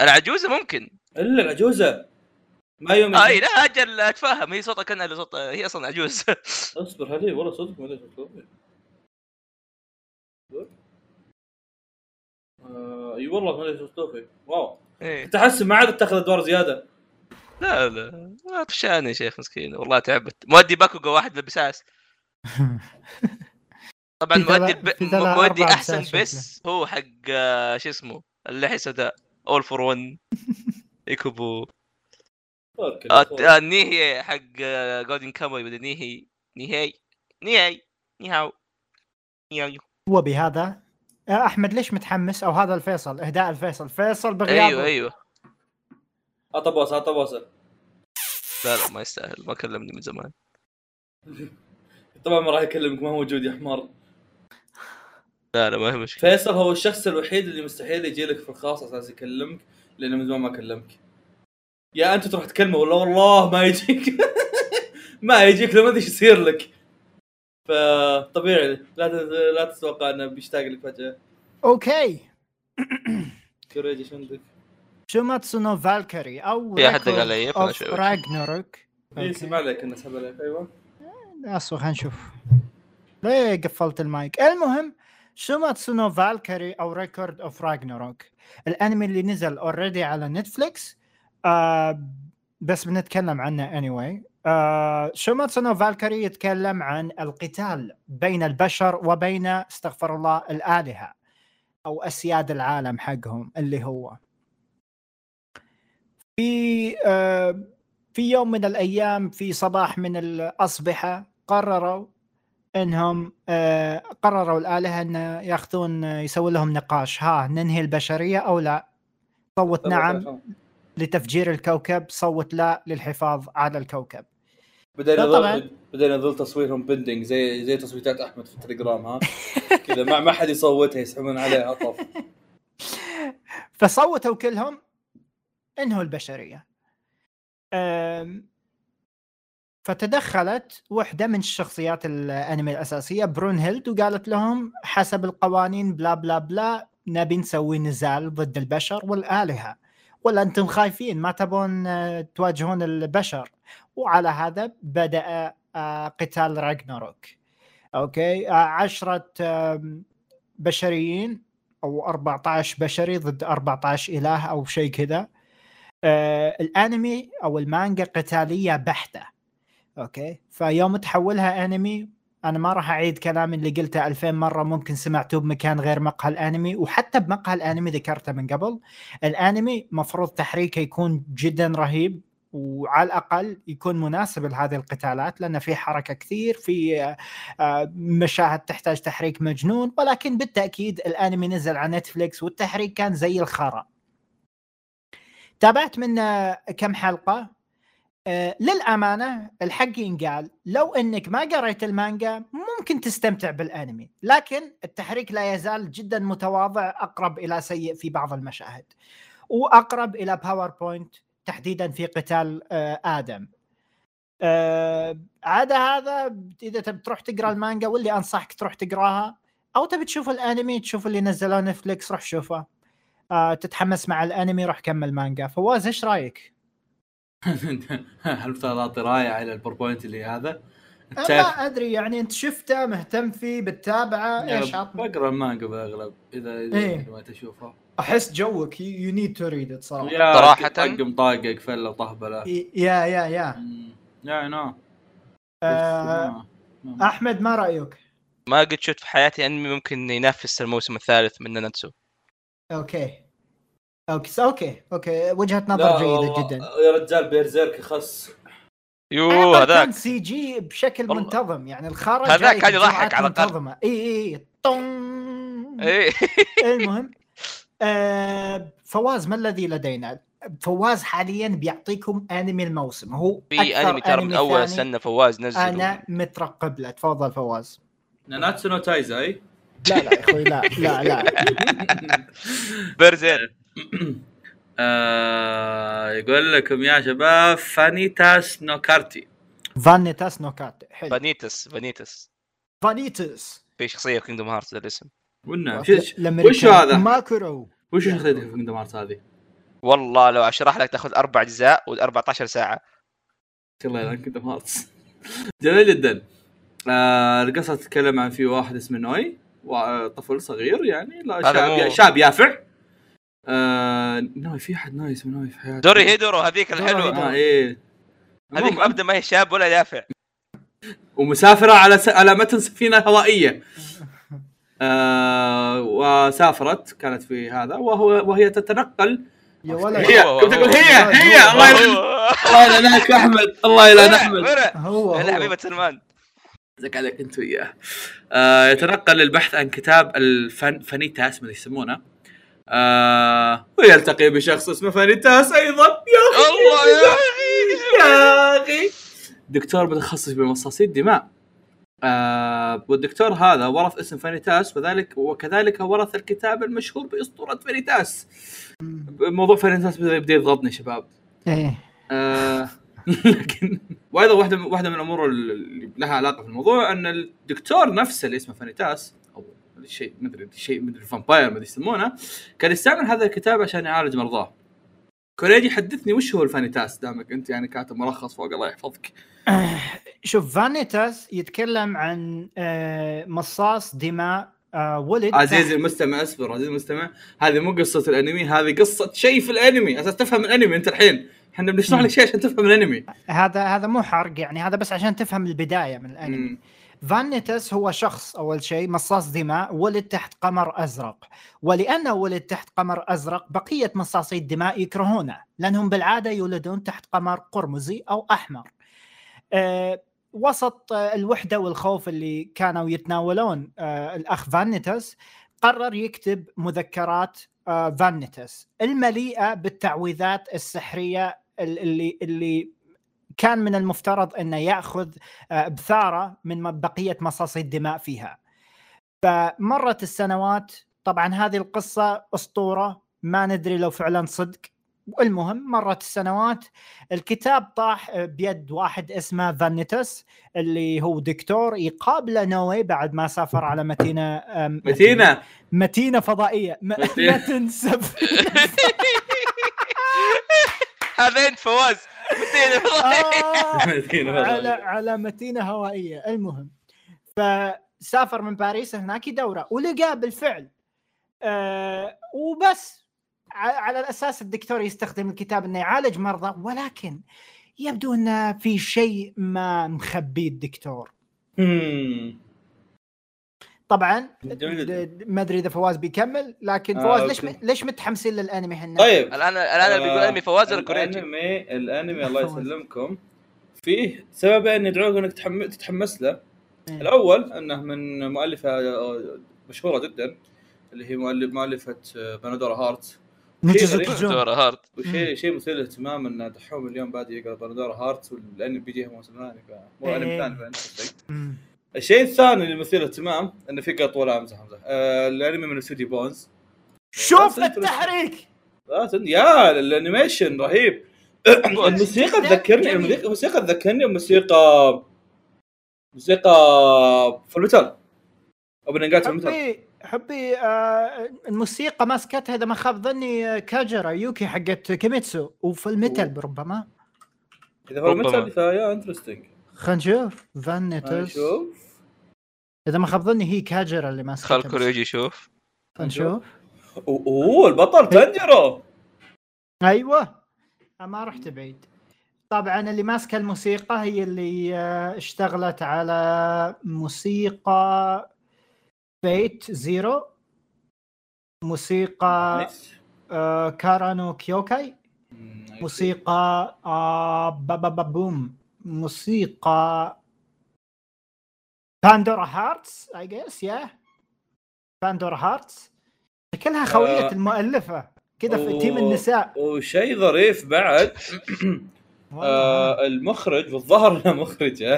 Speaker 2: العجوزه ممكن
Speaker 4: الا العجوزه ما يوم
Speaker 2: اي لا اجل اتفهم هي صوتها كان صوت هي اصلا عجوز *laughs*
Speaker 4: اصبر هذه والله صدق ما ادري صوت لوفي آه، اي والله ما ادري صوت لوفي واو
Speaker 2: إيه.
Speaker 4: كنت احس ما عاد اتخذ ادوار زياده
Speaker 2: لا لا طفشان يا شيخ مسكين والله تعبت مؤدي باكوغا واحد
Speaker 3: *laughs*
Speaker 2: بالبساس طبعا
Speaker 3: في ثلا-
Speaker 2: مؤدي الب...
Speaker 3: في ثلا
Speaker 2: مؤدي
Speaker 3: أربعة
Speaker 2: احسن
Speaker 3: بساس
Speaker 2: بس هو حق آه، شو اسمه اللحية سوداء اول فور
Speaker 3: *laughs*
Speaker 2: 1 ايكوبو
Speaker 4: فاكر.
Speaker 2: آه، آه، نيهي حق آه، جولدن كاموي بدل نيهي نيهي نيهي نيهاو نيهاو أيوه،
Speaker 3: هو بهذا آه، احمد ليش متحمس او هذا الفيصل اهداء الفيصل فيصل بغيابه
Speaker 2: ايوه ايوه
Speaker 4: اعطى بوسه اعطى بوسه
Speaker 2: لا لا ما يستاهل ما كلمني من زمان
Speaker 4: طبعا ما راح يكلمك ما هو موجود يا حمار
Speaker 2: لا لا ما هي مشكله
Speaker 4: فيصل هو الشخص الوحيد اللي مستحيل يجي لك في الخاص اساس يكلمك لانه من زمان ما كلمك يا انت تروح تكلمه ولا والله ما يجيك *laughs* ما يجيك لو ما ادري ايش يصير لك فطبيعي لا تت- لا تتوقع انه بيشتاق لك فجاه
Speaker 3: اوكي
Speaker 4: كوريج ايش عندك؟
Speaker 3: جوماتسو نو فالكري او
Speaker 2: في أحد دق علي، فأنا شوي.
Speaker 3: راجنروك
Speaker 4: إيه، سمع لك انه سحب عليك ايوه
Speaker 3: اصبر خلينا نشوف ليه قفلت المايك المهم شوماتسو نو فالكري او ريكورد اوف راجنروك الانمي اللي نزل اوريدي على نتفليكس آه بس بنتكلم عنه اني anyway. آه شوماتسو نو فالكري يتكلم عن القتال بين البشر وبين استغفر الله الالهه او اسياد العالم حقهم اللي هو في آه في يوم من الايام في صباح من الاصبحه قرروا انهم آه، قرروا الالهه ان ياخذون يسوون لهم نقاش ها ننهي البشريه او لا صوت نعم لتفجير الكوكب صوت لا للحفاظ على الكوكب
Speaker 4: بدينا
Speaker 3: لا طبعاً.
Speaker 4: نظل بدينا نظل تصويرهم بندنج زي زي تصويتات احمد في التليجرام
Speaker 1: *laughs*
Speaker 4: ها كذا ما ما حد يصوتها يسحبون عليها عطف
Speaker 3: فصوتوا كلهم انهوا البشريه أم، فتدخلت واحدة من الشخصيات الأنمي الأساسية برون هيلد وقالت لهم حسب القوانين بلا بلا بلا نبي نسوي نزال ضد البشر والآلهة ولا أنتم خايفين ما تبون آه، تواجهون البشر وعلى هذا بدأ آه، قتال راجناروك أوكي آه، عشرة آم، بشريين او 14 بشري ضد 14 اله او شيء كذا آه الانمي او المانجا قتاليه بحته اوكي فيوم تحولها انمي انا ما راح اعيد كلام اللي قلته 2000 مره ممكن سمعته بمكان غير مقهى الانمي وحتى بمقهى الانمي ذكرته من قبل الانمي مفروض تحريكه يكون جدا رهيب وعلى الاقل يكون مناسب لهذه القتالات لان في حركه كثير في آه، آه، مشاهد تحتاج تحريك مجنون ولكن بالتاكيد الانمي نزل على نتفليكس والتحريك كان زي الخرا تابعت منه كم حلقه آه، للامانه الحق ينقال لو انك ما قريت المانجا ممكن تستمتع بالانمي لكن التحريك لا يزال جدا متواضع اقرب الى سيء في بعض المشاهد واقرب الى باوربوينت تحديدا في قتال آه، ادم آه، عدا هذا اذا تبي تروح تقرا المانجا واللي انصحك تروح تقراها او تبي تشوف الانمي تشوف اللي نزلوه نتفلكس روح شوفه آه، تتحمس مع الانمي روح كمل مانجا فواز ايش رايك؟
Speaker 1: هل تعطي رايه على البوربوينت اللي هذا؟
Speaker 3: أنا ما ادري أه، يعني انت شفته مهتم فيه بتتابعه ايش عطني؟
Speaker 1: بقرا المانجا بالاغلب اذا
Speaker 3: إيه.
Speaker 1: اذا ما تشوفه
Speaker 3: احس جوك يو نيد تو ريد ات صراحه
Speaker 1: يا
Speaker 2: صراحة.
Speaker 1: طقم طاقق فله وطهبله
Speaker 3: يا يا يا
Speaker 1: مم. يا نو
Speaker 3: آه، احمد ما رايك؟
Speaker 2: ما قد شفت في حياتي انمي ممكن ينافس الموسم الثالث من ناناتسو
Speaker 3: اوكي اوكي اوكي اوكي وجهه
Speaker 4: لا،
Speaker 3: نظر جيده
Speaker 4: والله،
Speaker 3: جدا
Speaker 4: يا رجال بيرزيرك يخص
Speaker 2: يو هذاك
Speaker 3: سي جي بشكل
Speaker 2: والله.
Speaker 3: منتظم يعني الخرج
Speaker 2: هذاك
Speaker 3: جاي
Speaker 2: كان يضحك
Speaker 3: بجرعات
Speaker 2: على الأقل.
Speaker 3: منتظمه اي اي إي. طن
Speaker 2: ايه
Speaker 3: المهم آه فواز ما الذي لدينا؟ فواز حاليا بيعطيكم انمي الموسم هو
Speaker 2: *laughs* في
Speaker 3: أكثر
Speaker 2: انمي ترى من
Speaker 3: أنمي
Speaker 2: اول
Speaker 3: ثاني
Speaker 2: سنه فواز نزل
Speaker 3: انا مترقب له تفضل فواز
Speaker 4: ناناتسو نو تايزاي
Speaker 3: لا لا يا اخوي لا لا لا
Speaker 2: برزير
Speaker 1: آه، يقول لكم يا شباب فانيتاس نوكارتي
Speaker 3: فانيتاس نوكات حلو
Speaker 2: فانيتس فانيتس
Speaker 3: فانيتس
Speaker 2: في شخصيه في كينجدوم هارت ذا الاسم
Speaker 1: والنعم شو-
Speaker 3: الأمريكان.
Speaker 1: وش هذا؟
Speaker 3: ماكرو
Speaker 1: وش شخصيتك في كينجدم هارت هذه؟
Speaker 2: والله لو اشرح لك تاخذ اربع اجزاء و14 ساعه
Speaker 1: يلا يلا كينجدم هارت *laughs* جميل جدا آه، القصه تتكلم عن في واحد اسمه نوي وا- طفل صغير يعني لا
Speaker 2: هذا مو-
Speaker 1: شاب شاب يافع آه، نوي في احد نوي اسمه نوي في حياتي
Speaker 2: دوري هيدورو هذيك الحلوه
Speaker 1: اه ايه
Speaker 2: هذيك
Speaker 1: المهم،
Speaker 2: ابدا ما هي شاب ولا دافع
Speaker 1: ومسافره على س... على متن سفينه هوائيه آه وسافرت كانت في هذا وهو وهي تتنقل
Speaker 3: يا
Speaker 1: هي
Speaker 3: ولد
Speaker 2: هو-
Speaker 1: كنت اقول هي
Speaker 3: هو-
Speaker 1: هي
Speaker 3: هو-
Speaker 1: الله يلعن- الله يلعنك يا احمد الله يلعن احمد
Speaker 2: ورع
Speaker 3: هو
Speaker 2: هلا
Speaker 3: هو
Speaker 2: حبيبه سلمان
Speaker 1: زك عليك انت وياه آه يتنقل للبحث عن كتاب الفن فانيتاس ما يسمونه آه ويلتقي بشخص اسمه فانيتاس ايضا يا اخي
Speaker 2: الله يا اخي
Speaker 1: يا اخي دكتور متخصص بمصاصي الدماء آه والدكتور هذا ورث اسم فانيتاس وذلك وكذلك ورث الكتاب المشهور باسطوره
Speaker 3: إيه.
Speaker 1: فانيتاس موضوع فانيتاس بدا يبدا يضغطني يا شباب
Speaker 3: ايه
Speaker 1: آه
Speaker 5: *laughs* لكن وايضا واحده من- واحده من الامور اللي لها علاقه في الموضوع ان الدكتور نفسه اللي اسمه فانيتاس او شيء ما ادري شيء ما ادري فامباير ما ادري يسمونه كان يستعمل هذا الكتاب عشان يعالج مرضاه كوريجي حدثني وش هو الفانيتاس دامك انت يعني كاتب ملخص فوق الله يحفظك
Speaker 3: شوف فانيتاس يتكلم عن آه، مصاص دماء آه، ولد
Speaker 5: عزيزي
Speaker 3: تحت-
Speaker 5: المستمع اصبر عزيزي المستمع هذه مو قصه الانمي هذه قصه شيء في الانمي اساس تفهم الانمي انت الحين احنا بنشرح لك شيء عشان تفهم الانمي
Speaker 3: هذا هذا مو حرق يعني هذا بس عشان تفهم البدايه من الانمي
Speaker 5: مم.
Speaker 3: فانيتس هو شخص اول شيء مصاص دماء ولد تحت قمر ازرق ولانه ولد تحت قمر ازرق بقيه مصاصي الدماء يكرهونه لانهم بالعاده يولدون تحت قمر قرمزي او احمر. أه وسط آه، الوحده والخوف اللي كانوا يتناولون أه الاخ فانيتس قرر يكتب مذكرات أه فانيتس المليئه بالتعويذات السحريه ال- اللي اللي كان من المفترض انه ياخذ آه، بثاره من م- بقيه مصاصي الدماء فيها. فمرت السنوات طبعا هذه القصه اسطوره ما ندري لو فعلا صدق المهم مرت السنوات الكتاب طاح آه، بيد واحد اسمه فانيتس اللي هو دكتور يقابله نوي بعد ما سافر على مدينه آه،
Speaker 5: متينه
Speaker 3: متينه فضائيه م-
Speaker 5: متينة.
Speaker 3: ما تنسب
Speaker 2: هذا انت فواز متين والله.
Speaker 3: آه.
Speaker 5: متينه
Speaker 3: على
Speaker 5: والله.
Speaker 3: على متينه هوائيه المهم فسافر من باريس هناك دوره ولقاه بالفعل أه وبس ع- على الاساس الدكتور يستخدم الكتاب انه يعالج مرضى ولكن يبدو ان في شيء ما مخبيه الدكتور
Speaker 5: مم.
Speaker 3: طبعا
Speaker 1: جميل جدا.
Speaker 3: د- ما ادري اذا فواز بيكمل لكن
Speaker 1: آه،
Speaker 3: فواز ليش م-
Speaker 1: أوكي.
Speaker 3: ليش متحمسين للانمي هن
Speaker 1: طيب
Speaker 2: الان الان اللي بيقول انمي فواز ولا كوريجي
Speaker 1: الانمي الانمي الله
Speaker 3: فواز.
Speaker 1: يسلمكم فيه سببين يدعوك انك تحم- تتحمس له
Speaker 3: إيه.
Speaker 1: الاول انه من مؤلفه آه، مشهوره جدا اللي هي مؤلف مؤلفه آه، بانادورا هارت
Speaker 3: نجز
Speaker 1: غريب.
Speaker 3: التجوم.
Speaker 2: دورة هارد
Speaker 1: وشيء شيء مثير للاهتمام ان دحوم اليوم بادي يقرا بانادورا هارت والانمي بيجيها موسم ثاني فمو انمي
Speaker 3: إيه.
Speaker 1: ثاني فانترستنج.
Speaker 3: مم.
Speaker 1: الشيء الثاني اللي مثير للاهتمام انه في قط ولا امزح امزح آه، الانمي من استوديو بونز
Speaker 3: شوف
Speaker 1: Interesting.
Speaker 3: التحريك
Speaker 1: آه، تن- يا الانيميشن رهيب الموسيقى
Speaker 3: جدا
Speaker 1: تذكرني
Speaker 3: أيوة، جميل.
Speaker 1: الموسيقى الموسيقى تذكرني موسيقى موسيقى فول ميتال او بننجات فول ميتال
Speaker 3: حبي حبي آه الموسيقى ماسكتها اذا ما خاب ظني آه، كاجرا يوكي حقت كيميتسو وفي الميتال ربما
Speaker 1: اذا فول
Speaker 2: ربما.
Speaker 1: ميتال فيا انترستنج
Speaker 3: خلينا نشوف فانيتوس
Speaker 1: شوف
Speaker 3: اذا ما خاب ظني هي كاجرا اللي ماسكتها
Speaker 2: خل كوريجي شوف
Speaker 3: خلينا نشوف
Speaker 1: اوه البطل تنجرو
Speaker 3: ايوه آه، ما رحت بعيد طبعا اللي ماسكه الموسيقى هي اللي آه، اشتغلت على موسيقى فيت زيرو موسيقى
Speaker 1: نايس.
Speaker 3: آه كارانو كيوكاي
Speaker 1: مم، نايس.
Speaker 3: موسيقى آه با با با بوم موسيقى باندورا هارتس اي جيس يا باندورا هارتس شكلها خوية
Speaker 1: آه.
Speaker 3: المؤلفة كذا في
Speaker 1: أوه.
Speaker 3: تيم النساء
Speaker 1: وشيء ظريف بعد
Speaker 3: والله.
Speaker 1: آه المخرج والظهر انه مخرج *laughs*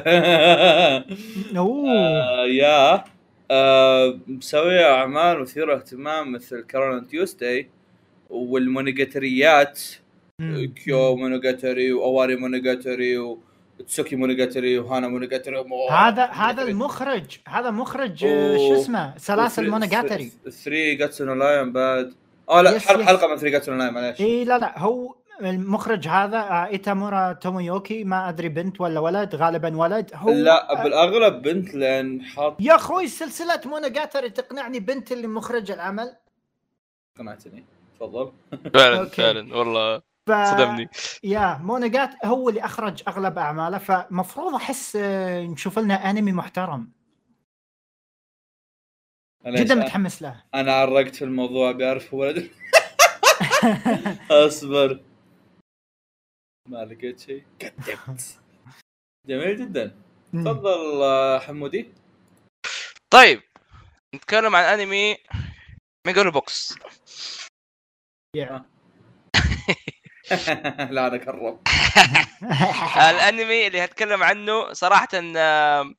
Speaker 3: اوه
Speaker 1: آه، يا آه، مسوية اعمال مثيره اهتمام مثل كارولين تيوستي والمونيجاتريات
Speaker 3: مم.
Speaker 1: كيو مونيجاتري واواري مونيجاتري وتسوكي مونيجاتري وهانا مونيجاتري ومو-
Speaker 3: هذا هذا المخرج هذا مخرج آه، شو
Speaker 1: أوه.
Speaker 3: اسمه سلاسل مونوجاتري
Speaker 1: ثري جاتسون لاين بعد اه لا
Speaker 3: يس،
Speaker 1: حلقه
Speaker 3: يس.
Speaker 1: حلقه من ثري جاتسون لاين معليش
Speaker 3: اي لا لا هو المخرج هذا آه، ايتامورا تومويوكي ما ادري بنت ولا ولد غالبا ولد هو
Speaker 1: لا بالاغلب بنت لان حاط
Speaker 3: يا اخوي سلسله مونوجاتري تقنعني بنت اللي مخرج العمل
Speaker 1: قنعتني تفضل
Speaker 2: فعلا
Speaker 3: أوكي.
Speaker 2: فعلا والله
Speaker 3: ف...
Speaker 2: صدمني
Speaker 3: يا مونوجات هو اللي اخرج اغلب اعماله فمفروض احس آه، نشوف لنا انمي محترم
Speaker 1: معليش،
Speaker 3: جدا
Speaker 1: أنا-
Speaker 3: متحمس له
Speaker 1: انا عرقت في الموضوع بيعرف ولد اصبر ما لقيت شيء كذبت جميل جدا تفضل آه، *laughs* حمودي
Speaker 2: طيب نتكلم عن انمي ميجالو بوكس
Speaker 3: يا.
Speaker 1: لا انا كرم
Speaker 2: الانمي اللي هتكلم عنه صراحه آم،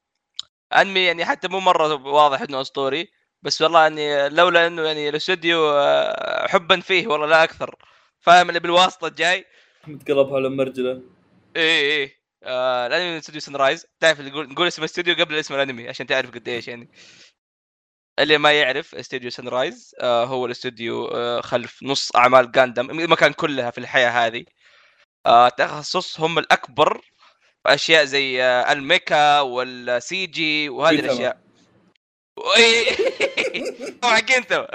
Speaker 2: انمي يعني حتى مو مره واضح انه اسطوري بس والله اني لولا انه يعني الاستوديو آه، حبا فيه والله لا اكثر فاهم اللي بالواسطه الجاي
Speaker 4: *laughs*
Speaker 1: متقلبها على مرجله
Speaker 2: اي اي إيه، آه الانمي من استوديو سن رايز تعرف اللي يقول نقول اسم الاستوديو قبل اسم الانمي عشان تعرف قد ايش يعني اللي ما يعرف استوديو سن رايز آه هو الاستوديو آه خلف نص اعمال جاندم ما كان كلها في الحياه هذه آه تخصصهم الاكبر في اشياء زي آه الميكا والسي جي وهذه
Speaker 4: جنتاما.
Speaker 2: *laughs* الاشياء *laughs* وإي- طبعا جنتما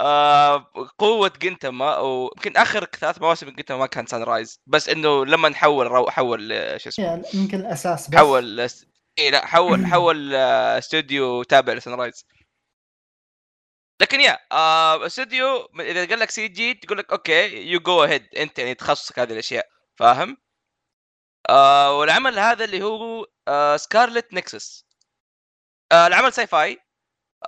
Speaker 2: آه، قوة جنتما ويمكن اخر ثلاث مواسم من جنتما ما كان سان رايز بس انه لما نحول رو... حول آه، شو اسمه
Speaker 3: يعني *laughs* يمكن الاساس بس
Speaker 2: حول است- اي لا حول حول آه، استوديو تابع لسان رايز لكن يا آه، استوديو من- اذا قال لك سي جي تقول لك اوكي يو جو اهيد انت يعني تخصصك هذه الاشياء فاهم؟ آه والعمل هذا اللي هو آه سكارلت نكسس آه العمل ساي فاي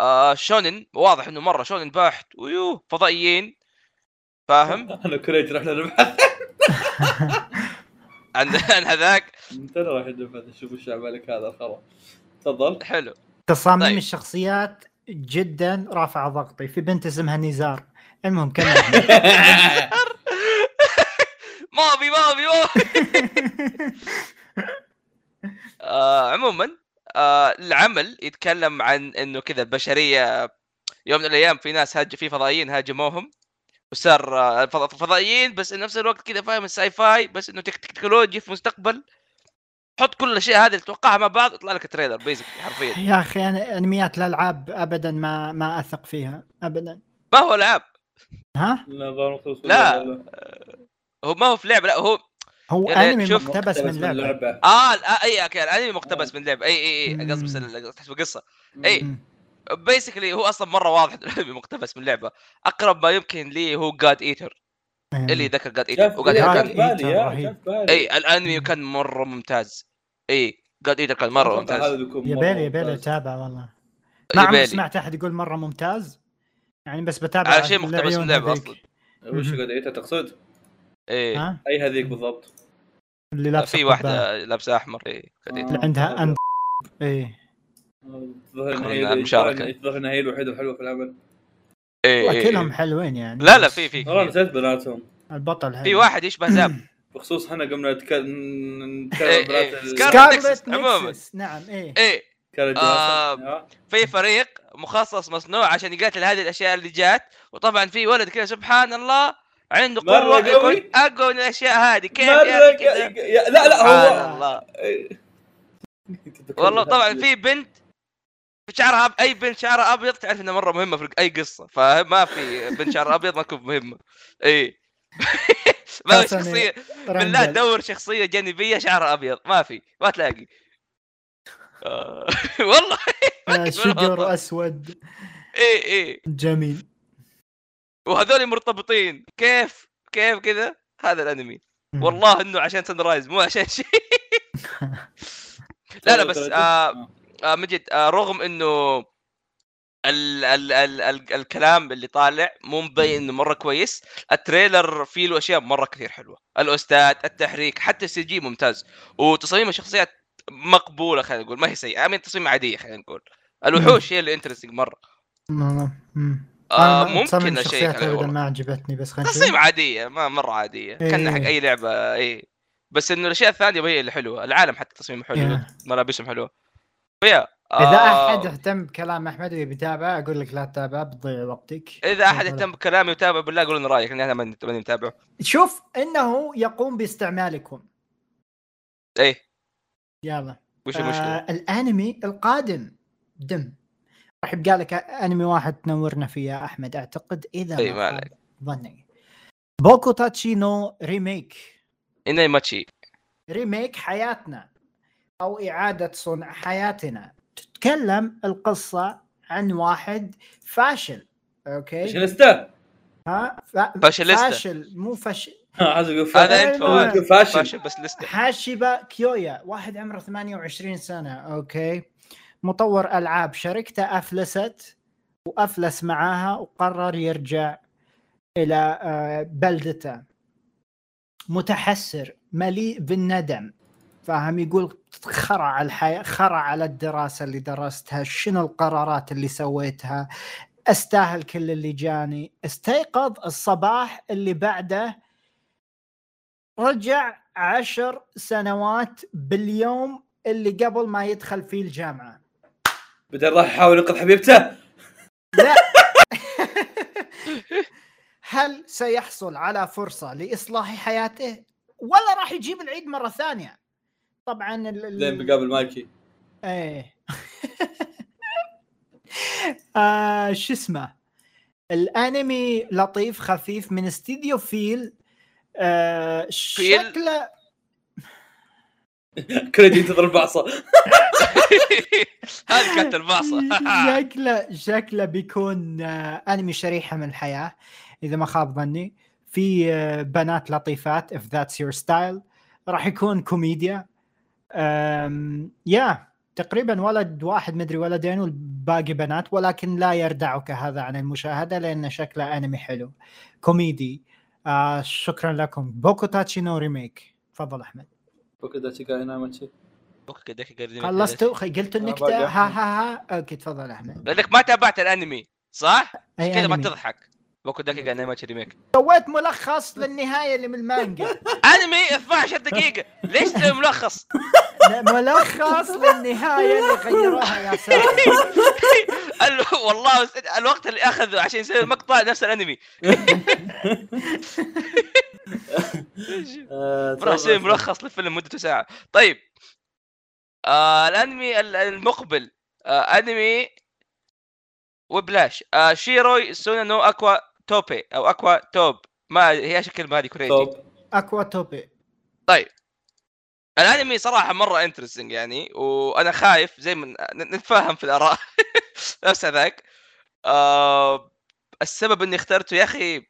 Speaker 2: آه شونن واضح انه مره شونن بحت ويوه فضائيين
Speaker 1: *laughs*
Speaker 2: فاهم؟
Speaker 4: انا كريت رحنا نبحث
Speaker 2: عن عن هذاك
Speaker 4: انت انا رايح نبحث نشوف وش عملك هذا الخرا
Speaker 2: *laughs*
Speaker 4: تفضل
Speaker 2: حلو
Speaker 3: تصاميم
Speaker 2: طيب.
Speaker 3: الشخصيات جدا رافعه ضغطي في بنت اسمها نزار المهم كمل
Speaker 2: *laughs* ماضي ماضي ماضي آه عموما آه العمل يتكلم عن انه كذا البشريه يوم من الايام في ناس هاج في فضائيين هاجموهم وصار آه، فض- فضائيين بس نفس الوقت كذا فاهم الساي فاي بس انه تك- تكنولوجي في مستقبل حط كل الاشياء هذه اللي تتوقعها مع بعض يطلع لك تريلر بيزك حرفيا
Speaker 3: يا اخي انا انميات الالعاب ابدا ما ما اثق فيها ابدا
Speaker 2: ما هو العاب
Speaker 3: ها
Speaker 4: لا الظاهر مخلص ولا
Speaker 2: لا. هو ما هو في لعبه لا هو
Speaker 3: هو
Speaker 2: يعني
Speaker 3: انمي
Speaker 2: شوف-
Speaker 3: مقتبس من لعبه
Speaker 2: اه الآ- اي اوكي الانمي مقتبس من لعبه اي اي اي إيه، قصدي بس
Speaker 3: مم.
Speaker 2: ال- تحسب قصه إي.
Speaker 3: مم.
Speaker 2: بيسكلي هو اصلا مره واضح إنه الانمي مقتبس من لعبه اقرب ما يمكن لي هو جاد ايتر اللي ذكر جاد ايتر وجاد ايتر
Speaker 3: إيه،
Speaker 2: كان
Speaker 3: كان-
Speaker 4: اي
Speaker 2: اي الانمي كان مره ممتاز اي جاد ايتر كان مره ممتاز
Speaker 3: يا بيلي يا بيلي اتابع والله
Speaker 2: يا
Speaker 3: ما عمري
Speaker 2: بيلي
Speaker 3: سمعت احد يقول مره ممتاز يعني بس بتابع
Speaker 2: على شيء مقتبس من
Speaker 3: العيون
Speaker 2: لعبه
Speaker 3: هذيك.
Speaker 2: اصلا
Speaker 4: وش قاعد إيه، تقصد؟
Speaker 2: اي
Speaker 3: ها
Speaker 4: اي هذيك بالضبط
Speaker 3: اللي لابسه
Speaker 2: إيه. في آه،
Speaker 3: قبعة.
Speaker 2: واحده لابسه احمر اي جاد ايتر
Speaker 3: اللي عندها انب ايه
Speaker 4: الظاهر إنها هي-
Speaker 2: المشاركة.
Speaker 4: الظاهر انها هي الوحيده الحلوه في العمل آه.
Speaker 2: إي، إي،
Speaker 3: واكلهم
Speaker 2: اي
Speaker 3: حلوين يعني
Speaker 2: إيه، لا لا
Speaker 3: بس
Speaker 2: في في
Speaker 4: والله
Speaker 2: كثير.
Speaker 4: نسيت بناتهم
Speaker 3: البطل
Speaker 2: في
Speaker 3: حلو.
Speaker 2: واحد يشبه زاب
Speaker 4: بخصوص احنا قمنا نتكلم
Speaker 2: إيه،
Speaker 4: نتكلم
Speaker 2: إيه.
Speaker 4: بنات ال-
Speaker 2: سكارلت نكسس،
Speaker 3: سكارلت
Speaker 2: عموماً. إيه،
Speaker 3: نكسس نعم ايه
Speaker 2: اي
Speaker 4: كانت
Speaker 2: آه،
Speaker 4: جاسم. ها؟
Speaker 2: في فريق مخصص مصنوع عشان يقاتل هذه الاشياء اللي جات وطبعا في ولد كذا سبحان الله عنده
Speaker 4: مرة
Speaker 2: قوه
Speaker 4: قوي.
Speaker 2: يكون اقوى من الاشياء هذه كيف يا
Speaker 4: مرة
Speaker 2: أخي كذا؟
Speaker 4: قا- يا- لا لا
Speaker 2: سبحان
Speaker 4: هو
Speaker 3: آه.
Speaker 2: الله والله طبعا في بنت شعرها أب... اي بنت شعرها ابيض تعرف انها مره مهمه في اي قصه فما في بنت شعرها ابيض ما تكون مهمه اي *laughs* ما في
Speaker 3: حسن
Speaker 2: شخصيه بالله
Speaker 3: رندل.
Speaker 2: دور شخصيه جانبيه شعرها ابيض ما في ما تلاقي آه، *laughs* والله
Speaker 3: آه، شجر اسود
Speaker 2: اي اي
Speaker 3: جميل
Speaker 2: وهذول مرتبطين كيف كيف كذا هذا الانمي والله انه عشان سن رايز مو عشان شيء *laughs* لا لا بس آه آه، مجد آه، رغم انه ال ال ال ال الكلام اللي طالع مو مبين انه مره كويس التريلر فيه له اشياء مره كثير حلوه الاستاذ التحريك حتى السي جي ممتاز وتصاميم الشخصيات مقبوله خلينا نقول ما هي سيئه امين تصميم عاديه خلينا نقول الوحوش هي اللي انترستنج مره آه ممكن اشيك
Speaker 3: الشخصيات
Speaker 2: عليها
Speaker 3: ابدا
Speaker 2: والله.
Speaker 3: ما عجبتني بس خلينا
Speaker 2: تصميم عاديه ما مره عاديه
Speaker 3: إيه.
Speaker 2: كان حق اي لعبه اي بس انه الاشياء الثانيه هي اللي حلوه العالم حتى تصميمه حلو
Speaker 3: يا.
Speaker 2: ملابسهم حلوه فيا
Speaker 3: اذا
Speaker 2: آه،
Speaker 3: احد اهتم بكلام احمد اللي بيتابع اقول لك لا تتابع بتضيع وقتك
Speaker 2: اذا احد اهتم بكلامي وتابع بالله قولوا لنا رايك لاني انا ماني ماني متابعه
Speaker 3: شوف انه يقوم باستعمالكم
Speaker 2: ايه
Speaker 3: يلا
Speaker 2: وش المشكله؟
Speaker 3: آه الانمي القادم دم راح يبقى لك انمي واحد تنورنا فيه يا احمد اعتقد اذا
Speaker 2: إيه، ما
Speaker 3: خاب
Speaker 2: عليك.
Speaker 3: ظني بوكو تاتشي نو ريميك
Speaker 2: اني ماتشي
Speaker 3: ريميك حياتنا او اعاده صنع حياتنا تتكلم القصه عن واحد فاشل
Speaker 4: ايش
Speaker 3: اوكي
Speaker 4: *laughs* نسته؟
Speaker 3: ها ف-
Speaker 2: فاشليستا.
Speaker 3: فاشل مو فاشل
Speaker 4: عايز اقول
Speaker 2: هذا
Speaker 3: أنا-
Speaker 2: انت فواز.
Speaker 4: آه، فاشل
Speaker 2: فاشل بس لسته
Speaker 3: حاشبه كيويا واحد عمره 28 سنه اوكي مطور العاب شركته افلست وافلس معاها وقرر يرجع الى آه، بلدته متحسر مليء بالندم فاهم يقول خرع على الحياه خرع على الدراسه اللي درستها شنو القرارات اللي سويتها استاهل كل اللي جاني استيقظ الصباح اللي بعده رجع عشر سنوات باليوم اللي قبل ما يدخل فيه الجامعه
Speaker 4: بعدين راح يحاول ينقذ حبيبته
Speaker 3: لا هل سيحصل على فرصه لاصلاح حياته ولا راح يجيب العيد مره ثانيه طبعا ال- ال-
Speaker 4: لين بيقابل مايكي *laughs*
Speaker 3: ايه *laughs* آه شو اسمه الانمي لطيف خفيف من استديو فيل آه
Speaker 2: فيل؟
Speaker 3: شكله
Speaker 4: كريدي ينتظر البعصه
Speaker 2: *laughs* هذه كانت
Speaker 3: *laughs*
Speaker 2: *laughs* البعصه
Speaker 3: شكله شكله بيكون آه انمي شريحه من الحياه اذا ما خاب ظني في آه بنات لطيفات if that's your style راح يكون كوميديا آم، يا تقريبا ولد واحد مدري ولدين والباقي بنات ولكن لا يردعك هذا عن المشاهده لان شكله انمي حلو كوميدي آه شكرا لكم بوكو تاتشي نو ريميك تفضل احمد
Speaker 4: فكر ذا شيكا هنا ما شي
Speaker 2: أوكي، دقيقة، دقيقة.
Speaker 3: خلصتوا خ- قلتوا
Speaker 4: أنا
Speaker 3: النكته
Speaker 4: باقي
Speaker 3: ها
Speaker 4: أحمد.
Speaker 3: ها ها اوكي تفضل احمد
Speaker 2: لانك ما تابعت الانمي صح؟
Speaker 3: أي
Speaker 2: كذا ما
Speaker 3: أنمي.
Speaker 2: تضحك بوكو دقيقة انيميشن
Speaker 3: *laughs*
Speaker 2: ريميك
Speaker 3: سويت ملخص للنهايه اللي من المانجا
Speaker 2: انمي 12 دقيقة ليش تسوي ملخص؟ *laughs*
Speaker 3: لا، *laughs* ملخص للنهايه اللي غيروها يا *laughs* ساتر
Speaker 2: ال- والله بس الوقت اللي اخذه عشان يسوي المقطع نفس الانمي
Speaker 4: آه،
Speaker 2: راح يسوي ملخص للفيلم مدته ساعة طيب آه الانمي ال- المقبل آه انمي وبلاش آه شيروي سونا نو اكوا توبي او اكوا توب ما هي ايش الكلمة هذه كريتي
Speaker 4: طب
Speaker 3: اكوا توبي
Speaker 2: الانمي صراحه مره انترستنج يعني وانا خايف زي ما ن- نتفاهم في الاراء *laughs* نفس هذاك آه السبب اني اخترته يا اخي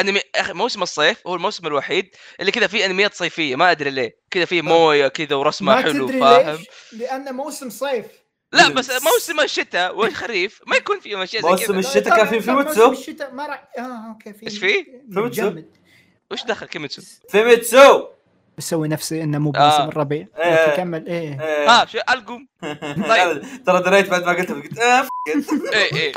Speaker 2: انمي يا اخي موسم الصيف هو الموسم الوحيد اللي كذا فيه انميات صيفيه ما ادري ليه كذا فيه مويه كذا ورسمه
Speaker 3: آه. ما
Speaker 2: حلو
Speaker 3: تدري
Speaker 2: فاهم
Speaker 3: ليش لانه موسم صيف
Speaker 2: لا بس موسم الشتاء والخريف ما يكون فيه اشياء زي
Speaker 4: موسم
Speaker 2: كذا
Speaker 4: الشتاء كان
Speaker 3: لا، لا،
Speaker 4: في
Speaker 3: لا،
Speaker 4: فيوتسو.
Speaker 3: موسم الشتاء ما راح اه اوكي في
Speaker 2: إيش في؟
Speaker 4: فيوتسو.
Speaker 3: مجمد.
Speaker 2: وش دخل كيميتسو
Speaker 4: فيميتسو
Speaker 3: بسوي نفسي انه مو
Speaker 2: آه.
Speaker 3: بموسم الربيع
Speaker 4: إيه.
Speaker 3: تكمل ايه
Speaker 4: *laughs*
Speaker 2: ها آه، شو القم
Speaker 4: طيب ترى دريت بعد ما قلتها قلت آه، ف-
Speaker 2: ايه ايه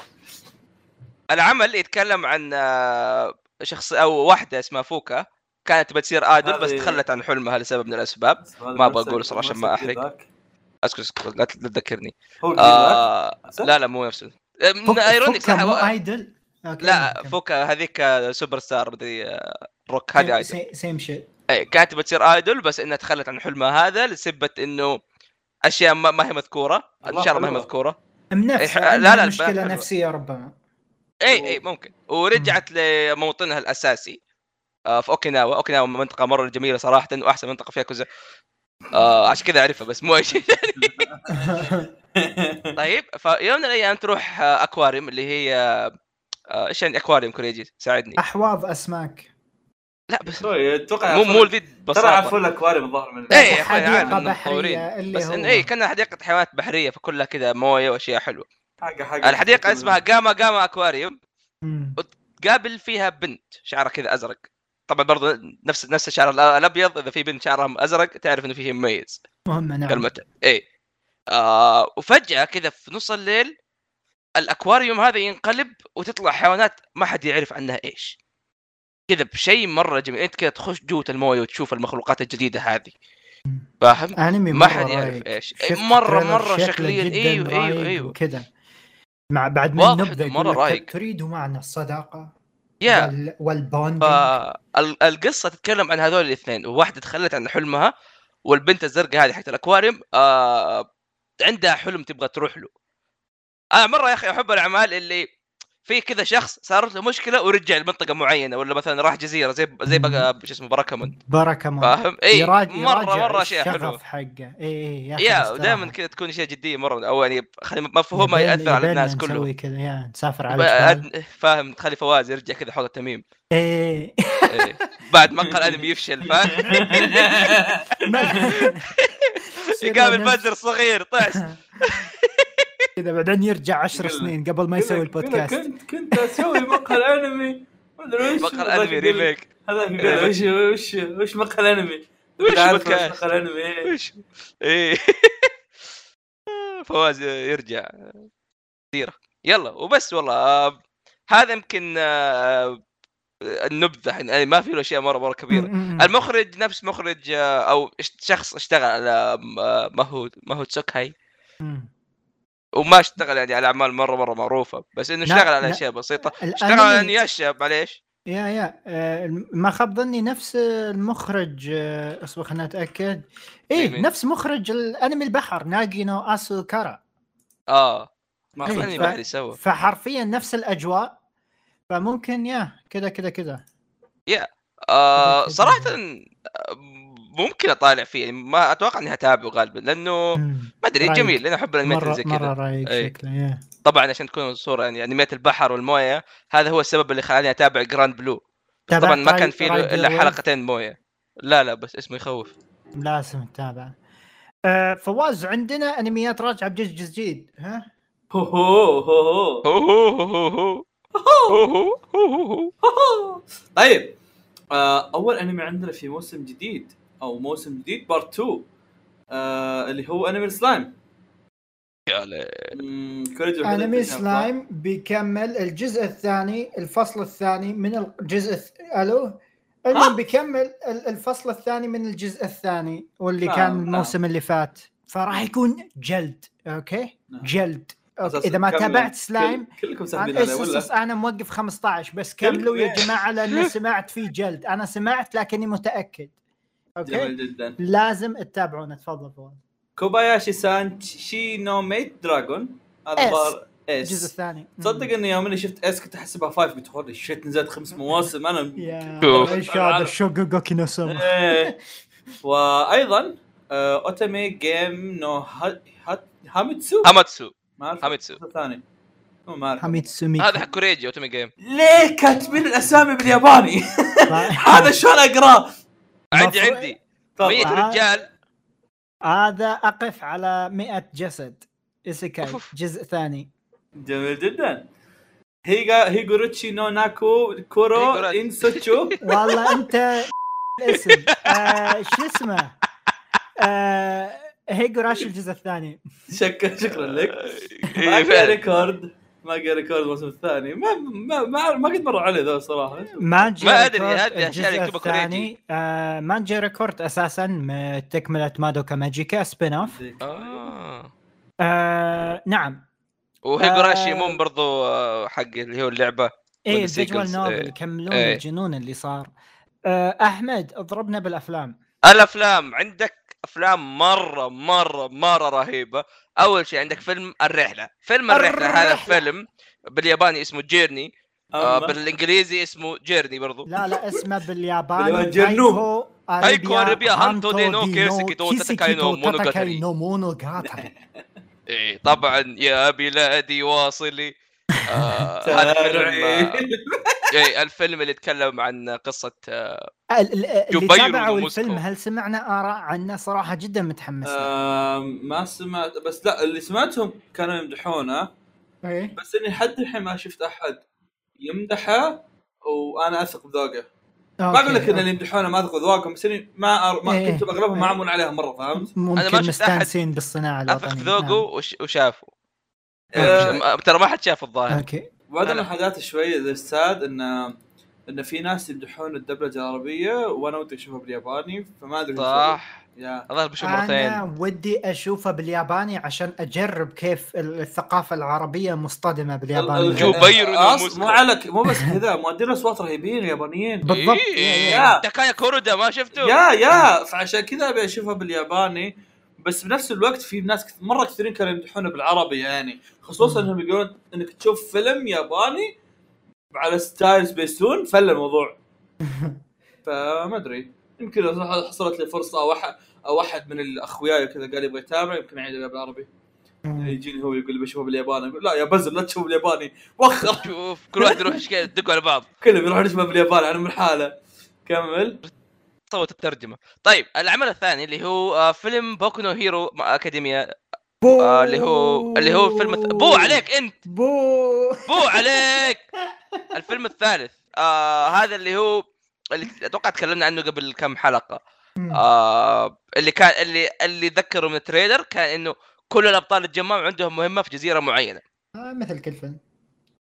Speaker 2: العمل يتكلم عن آه، شخص او واحده اسمها فوكا كانت بتصير ادل بس
Speaker 4: هذه-
Speaker 2: تخلت عن حلمها لسبب من الاسباب ما أبغى أقول صراحة عشان ما أحرق. اذكر اذكر لا لا تذكرني
Speaker 1: إيه،
Speaker 4: هو آه
Speaker 2: آه لا لا مو نفسه آه، من
Speaker 3: فوكا-
Speaker 2: ايرونيك
Speaker 3: فوكا
Speaker 2: صح
Speaker 3: مو
Speaker 2: و-
Speaker 3: ايدل أوكي،
Speaker 2: لا
Speaker 3: كمل.
Speaker 2: فوكا هذيك آه، سوبر ستار مدري آه، روك هذه ايدل
Speaker 3: سيم- سيم شيت
Speaker 2: إيه، كانت بتصير ايدول بس انها تخلت عن حلمها هذا لسبة انه اشياء ما, ما هي مذكوره
Speaker 4: الله
Speaker 2: ان شاء الله ما
Speaker 4: حلوة.
Speaker 2: هي مذكوره
Speaker 3: نفسه
Speaker 2: إيه، لا، لا،
Speaker 3: لا لا
Speaker 2: البنات
Speaker 3: مشكله
Speaker 2: حلوة.
Speaker 3: نفسيه
Speaker 2: *laughs*
Speaker 3: ربما
Speaker 2: اي اي إيه، ممكن ورجعت لموطنها الاساسي آه، في اوكيناوا اوكيناوا منطقه مره جميله صراحه واحسن منطقه فيها كوزا آه، عشان كذا اعرفها بس مو اي شيء *laughs* طيب فيوم من الايام تروح آه، اكواريوم اللي هي آه، ايش يعني اكواريوم كوريجي ساعدني
Speaker 3: احواض اسماك
Speaker 2: أه، لا
Speaker 4: *laughs*
Speaker 2: بس
Speaker 4: اتوقع
Speaker 2: مو مو ذي
Speaker 4: طيب. ترى
Speaker 2: ببساطه
Speaker 4: عفوا اكواريوم الظاهر من
Speaker 2: اي إيه، يا يعني اخوي عارف
Speaker 3: حديقه
Speaker 2: إنهم متطورين.
Speaker 3: بحريه اللي
Speaker 2: بس إيه،
Speaker 3: هو
Speaker 2: انه اي كانها حديقه حيوانات بحريه فكلها كذا مويه واشياء حلوه
Speaker 4: حاجه حاجه
Speaker 2: الحديقه اسمها
Speaker 4: *laughs*
Speaker 2: جاما جاما اكواريوم
Speaker 3: مم.
Speaker 2: قابل فيها بنت شعرها كذا ازرق طبعا برضو نفس نفس الشعر الأ- الابيض اذا في بنت شعرها ازرق تعرف انه في شيء مميز
Speaker 3: مهمه نعم
Speaker 2: كلمه اي آه وفجاه كذا في نص الليل الاكواريوم هذا ينقلب وتطلع حيوانات ما حد يعرف عنها ايش كذا بشيء مره جميل انت كذا تخش جوه المويه وتشوف المخلوقات الجديده هذه فاهم
Speaker 3: انمي
Speaker 2: ما
Speaker 3: مرة
Speaker 2: حد يعرف إيه،
Speaker 3: رايق.
Speaker 2: ايش
Speaker 3: أمم. شفت
Speaker 2: مره
Speaker 3: تريلر
Speaker 2: مره
Speaker 3: شكله
Speaker 2: شكليا
Speaker 3: جداً
Speaker 2: ايوه ايوه
Speaker 3: رايق
Speaker 2: ايوه
Speaker 3: وكذا مع بعد ما
Speaker 2: واضح
Speaker 3: النبذه
Speaker 2: إنه
Speaker 3: يقول
Speaker 2: مرة
Speaker 3: لك
Speaker 2: رايق.
Speaker 3: تريد معنى الصداقه
Speaker 2: يا
Speaker 3: وال- والبوندينج
Speaker 2: فالقصه تتكلم عن هذول الاثنين واحده تخلت عن حلمها والبنت الزرقاء هذه حقت الاكواريوم آه عندها حلم تبغى تروح له انا مره يا اخي احب الاعمال اللي في كذا شخص صارت له مشكله ورجع لمنطقه معينه ولا مثلا راح جزيره زي زي بقى شو اسمه براكمون
Speaker 3: بركه مرة.
Speaker 2: فاهم إيه، اي
Speaker 3: يراجع-
Speaker 2: مره
Speaker 3: يراجع
Speaker 2: مره اشياء حلوه
Speaker 3: الشغف حقه إيه، اي اي
Speaker 2: يا دايما كذا تكون اشياء جديه مره او يعني خلي مفهومها ياثر على الناس كلهم
Speaker 3: نسوي كذا يا نسافر على جبال.
Speaker 2: بقى- فاهم تخلي فواز يرجع كذا حوض التميم
Speaker 3: إيه.
Speaker 2: إيه. بعد ما قال انمي يفشل فاهم
Speaker 3: إيه.
Speaker 2: *laughs*
Speaker 3: يصير
Speaker 2: يقابل
Speaker 3: إيه، نفس-
Speaker 2: بدر صغير
Speaker 3: *laughs*
Speaker 2: طعس
Speaker 3: كذا بعدين يرجع 10
Speaker 4: يقول لك-
Speaker 3: سنين قبل ما يسوي البودكاست
Speaker 4: كنت كنت اسوي مقهى الانمي ما ادري وش
Speaker 2: بقى الانمي ريميك
Speaker 4: هذاك يقول وش وش وش مقهى الانمي
Speaker 2: وش
Speaker 4: عارف
Speaker 2: بودكاست؟
Speaker 4: مقهى الانمي إيه.
Speaker 2: ايش ايه *laughs* فواز يرجع ديره يلا وبس والله آه، هذا يمكن آه، النبذه الحين يعني ما في له اشياء مره مره كبيره
Speaker 3: م- م-
Speaker 2: المخرج نفس مخرج آه، او اش- شخص اشتغل على م- آه، ماهو ماهو تسوكهاي
Speaker 3: م.
Speaker 2: وما اشتغل يعني على اعمال مره مره معروفه بس انه
Speaker 3: لا،
Speaker 2: اشتغل على
Speaker 3: لا.
Speaker 2: اشياء بسيطه اشتغل على
Speaker 3: الأنمي-
Speaker 2: انياشا معليش
Speaker 3: يا يا آه، ما خاب ظني نفس المخرج آه، اصبر خلنا اتاكد ايه
Speaker 2: إيه، مين؟
Speaker 3: نفس مخرج الانمي البحر ناجينو اسو كارا
Speaker 2: اه
Speaker 1: ما
Speaker 3: أيوة.
Speaker 2: يعني
Speaker 1: أخذ.
Speaker 2: ما ادري سوى
Speaker 3: فحرفيا نفس الاجواء فممكن يا كذا كذا كذا
Speaker 2: آه
Speaker 3: أوكي.
Speaker 2: صراحه آه، ممكن اطالع فيه يعني ما اتوقع اني هتابعه غالبا لانه
Speaker 3: مم.
Speaker 2: ما ادري
Speaker 3: رايق.
Speaker 2: جميل لانه احب الانميات اللي
Speaker 3: مره
Speaker 2: زي
Speaker 3: مره
Speaker 2: كذا
Speaker 3: رايق
Speaker 2: إيه.
Speaker 3: شكله يا
Speaker 2: طبعا عشان تكون الصوره يعني انميات البحر والمويه هذا هو السبب اللي خلاني اتابع جراند بلو طبعا ما
Speaker 3: تابعت
Speaker 2: كان
Speaker 3: راي-
Speaker 2: فيه
Speaker 3: راي
Speaker 2: الا
Speaker 3: Beowulf؟
Speaker 2: حلقتين مويه لا لا بس اسمه يخوف *laughs*
Speaker 3: لازم تتابع آه، فواز عندنا انميات راجعه بجزء جديد ها
Speaker 1: هو هو هو هو.
Speaker 2: هو هو هو هو. هو هو هو هو.
Speaker 1: طيب آه، اول انمي عندنا في موسم جديد او موسم جديد بارت 2 آه، اللي هو انمي سلايم
Speaker 2: يا ليل.
Speaker 3: انمي سلايم بيكمل الجزء الثاني الفصل الثاني من الجزء الث... الو
Speaker 1: آه.
Speaker 3: المهم بيكمل ال- الفصل الثاني من الجزء الثاني واللي
Speaker 1: نعم،
Speaker 3: كان
Speaker 1: نعم.
Speaker 3: الموسم اللي فات فراح يكون جلد اوكي
Speaker 1: نعم.
Speaker 3: جلد أوكي.
Speaker 1: أساساً
Speaker 3: اذا ما
Speaker 1: كمل.
Speaker 3: تابعت سلايم
Speaker 1: كلكم ساحبين
Speaker 3: انا
Speaker 1: عليه ولا؟
Speaker 3: أسس انا موقف 15 بس
Speaker 1: *laughs*
Speaker 3: كملوا يا
Speaker 1: كمل.
Speaker 3: جماعه لاني سمعت في جلد انا سمعت لكني متاكد اوكي
Speaker 1: جميل جدا
Speaker 3: لازم تتابعونه تفضل فواز
Speaker 1: كوباياشي سان شي نو ميت دراجون
Speaker 3: إس.
Speaker 1: هذا ظهر
Speaker 3: الجزء
Speaker 1: اس
Speaker 3: الثاني
Speaker 1: *laughs* تصدق اني يوم اني شفت اس كنت احسبها فايف قلت هولي شيت نزلت خمس مواسم انا
Speaker 3: يا
Speaker 2: شوف.
Speaker 3: ايش هذا شوغوغوكي نو سوما
Speaker 1: إيه. وايضا آه، اوتامي جيم نو ها- ها- هامتسو
Speaker 2: هاماتسو
Speaker 1: ما أعرف.
Speaker 2: هامتسو.
Speaker 1: ثاني مو ما أعرف.
Speaker 3: حميد سمي
Speaker 2: هذا
Speaker 3: *laughs*
Speaker 2: حق كوريجي اوتومي جيم
Speaker 1: ليه كاتبين الاسامي بالياباني؟
Speaker 3: طيب.
Speaker 1: هذا شلون اقراه؟
Speaker 2: عندي
Speaker 3: مفروض-
Speaker 2: عندي ميت
Speaker 1: تفضل.
Speaker 3: آه. *laughs*
Speaker 2: رجال
Speaker 3: هذا اقف على 100 جسد ايسيكاي
Speaker 2: أوف.
Speaker 3: جزء ثاني
Speaker 1: جميل جدا هيغا هيغوروتشي نو ناكو كورو
Speaker 2: هيغورات.
Speaker 1: انسوتشو
Speaker 3: والله انت *laughs* الاسم آه شو اسمه آه هيجوراشي الجزء الثاني
Speaker 1: شك- شكرا لك
Speaker 2: إيه،
Speaker 1: ماجا
Speaker 2: فعلاً.
Speaker 1: ريكورد ماجا ريكورد الموسم الثاني ما ما ما, ما قد مر علي ذا
Speaker 2: آه،
Speaker 1: صراحه
Speaker 3: مانجا
Speaker 2: ما أدري،
Speaker 3: ريكورد
Speaker 2: هذه أشياء
Speaker 3: الجزء
Speaker 2: اللي يكتبها كوريجي.
Speaker 3: الثاني، آه مانجا ريكورد اساسا م- تكمله مادوكا ماجيكا سبين اوف
Speaker 2: آه.
Speaker 3: آه نعم
Speaker 2: وهيجوراشي
Speaker 3: آه.
Speaker 2: مون برضو آه، حق اللي هو اللعبه
Speaker 3: ايه
Speaker 2: والسيكونس،
Speaker 3: الفيجوال نوفل
Speaker 2: إيه.
Speaker 3: يكملون
Speaker 2: إيه.
Speaker 3: الجنون اللي صار آه احمد اضربنا بالافلام
Speaker 2: الافلام عندك افلام مره مره مره رهيبه اول شيء عندك فيلم الرحله فيلم الرحله هذا
Speaker 3: الرحلة.
Speaker 2: فيلم بالياباني اسمه جيرني آه
Speaker 1: أمم.
Speaker 2: بالانجليزي اسمه جيرني برضو
Speaker 3: لا لا اسمه بالياباني
Speaker 1: بالياباني جنون.
Speaker 3: تايكو
Speaker 2: تايكو أريبيا هانتو دي نو كيسيكي تو تاتاكاي نو
Speaker 3: كيسيكي تو
Speaker 2: مونوغاتاري.
Speaker 3: تاتاكاي نو
Speaker 1: *laughs*
Speaker 3: مونوغاتاري.
Speaker 2: إيه طبعا يا بلادي واصلي
Speaker 1: *laughs*
Speaker 2: آه هذا فيلم آه، إيه الفيلم اللي يتكلم عن قصه آه
Speaker 3: ال- ال- اللي
Speaker 2: جوبايرو
Speaker 3: تابعوا
Speaker 2: موسكو.
Speaker 3: الفيلم هل سمعنا اراء عنه صراحه جدا متحمس
Speaker 1: آه،
Speaker 3: له.
Speaker 1: ما سمعت بس لا اللي سمعتهم كانوا يمدحونه
Speaker 3: إيه.
Speaker 1: بس اني لحد الحين ما شفت احد يمدحه وانا اثق بذوقه ما اقول لك
Speaker 3: أوكي،
Speaker 1: ان اللي يمدحونه ما اثق بذوقهم بس اني ما, أر... ما
Speaker 3: إيه.
Speaker 1: كنت اغلبهم ما عمون عليها مره فهمت؟
Speaker 3: ممكن
Speaker 2: أنا ما شفت
Speaker 3: مستانسين نعم. بالصناعه
Speaker 2: افق
Speaker 3: الوطنيه
Speaker 2: ذوقه وش- وشافه
Speaker 1: نعم. آه.
Speaker 2: مش- ترى ما حد شافه
Speaker 3: نعم.
Speaker 2: الظاهر
Speaker 3: اوكي
Speaker 1: وبعدين
Speaker 2: أنا-
Speaker 1: الحاجات شوي الساد انه انه في ناس يمدحون الدبلجه العربيه وانا ودي اشوفها بالياباني فما ادري وش أسوي.
Speaker 2: صح
Speaker 1: يا
Speaker 2: الظاهر بشوف
Speaker 1: نعم.
Speaker 2: مرتين
Speaker 3: انا ودي اشوفه بالياباني عشان اجرب كيف ال- الثقافه العربيه مصطدمه بالياباني
Speaker 2: الجو- جوبيرو
Speaker 1: أص-
Speaker 2: ناموسكو.
Speaker 1: مو على مو بس كذا مؤدين اصوات رهيبين يابانيين
Speaker 3: بالضبط
Speaker 2: إيه.
Speaker 1: يا.
Speaker 2: تاكايا كورودا ما شفته
Speaker 1: يا يا فعشان كذا ابي اشوفها بالياباني بس بنفس الوقت في ناس كث- مره كثيرين كانوا يمدحونه بالعربي يعني خصوصا
Speaker 3: مم.
Speaker 1: انهم يقولون انك تشوف فيلم ياباني على ستايل سبيستون فل الموضوع فما ادري يمكن إذا حصلت لي فرصه او احد او احد من الاخوياي وكذا قال يبغى يتابع يمكن اعيد وياه بالعربي يجيني هو يقول لي بشوفه بالياباني اقول لا يا بزل لا تشوف بالياباني وخر
Speaker 2: شوف كل واحد يروح يشك- يدقوا على بعض
Speaker 1: كلهم يروحون يشوفه بالياباني انا من حاله كمل
Speaker 2: صوت الترجمه طيب العمل الثاني اللي هو آه، فيلم بوكو نو هيرو مع اكاديميا آه، اللي هو اللي هو فيلم الث- بو عليك انت
Speaker 3: بو
Speaker 2: بو عليك الفيلم الثالث آه هذا اللي هو اللي اتوقع تكلمنا عنه قبل كم حلقه آه اللي كان اللي اللي ذكروا من التريلر كان انه كل الابطال الجماعة عندهم مهمه في جزيره معينه
Speaker 3: آه، مثل كل فيلم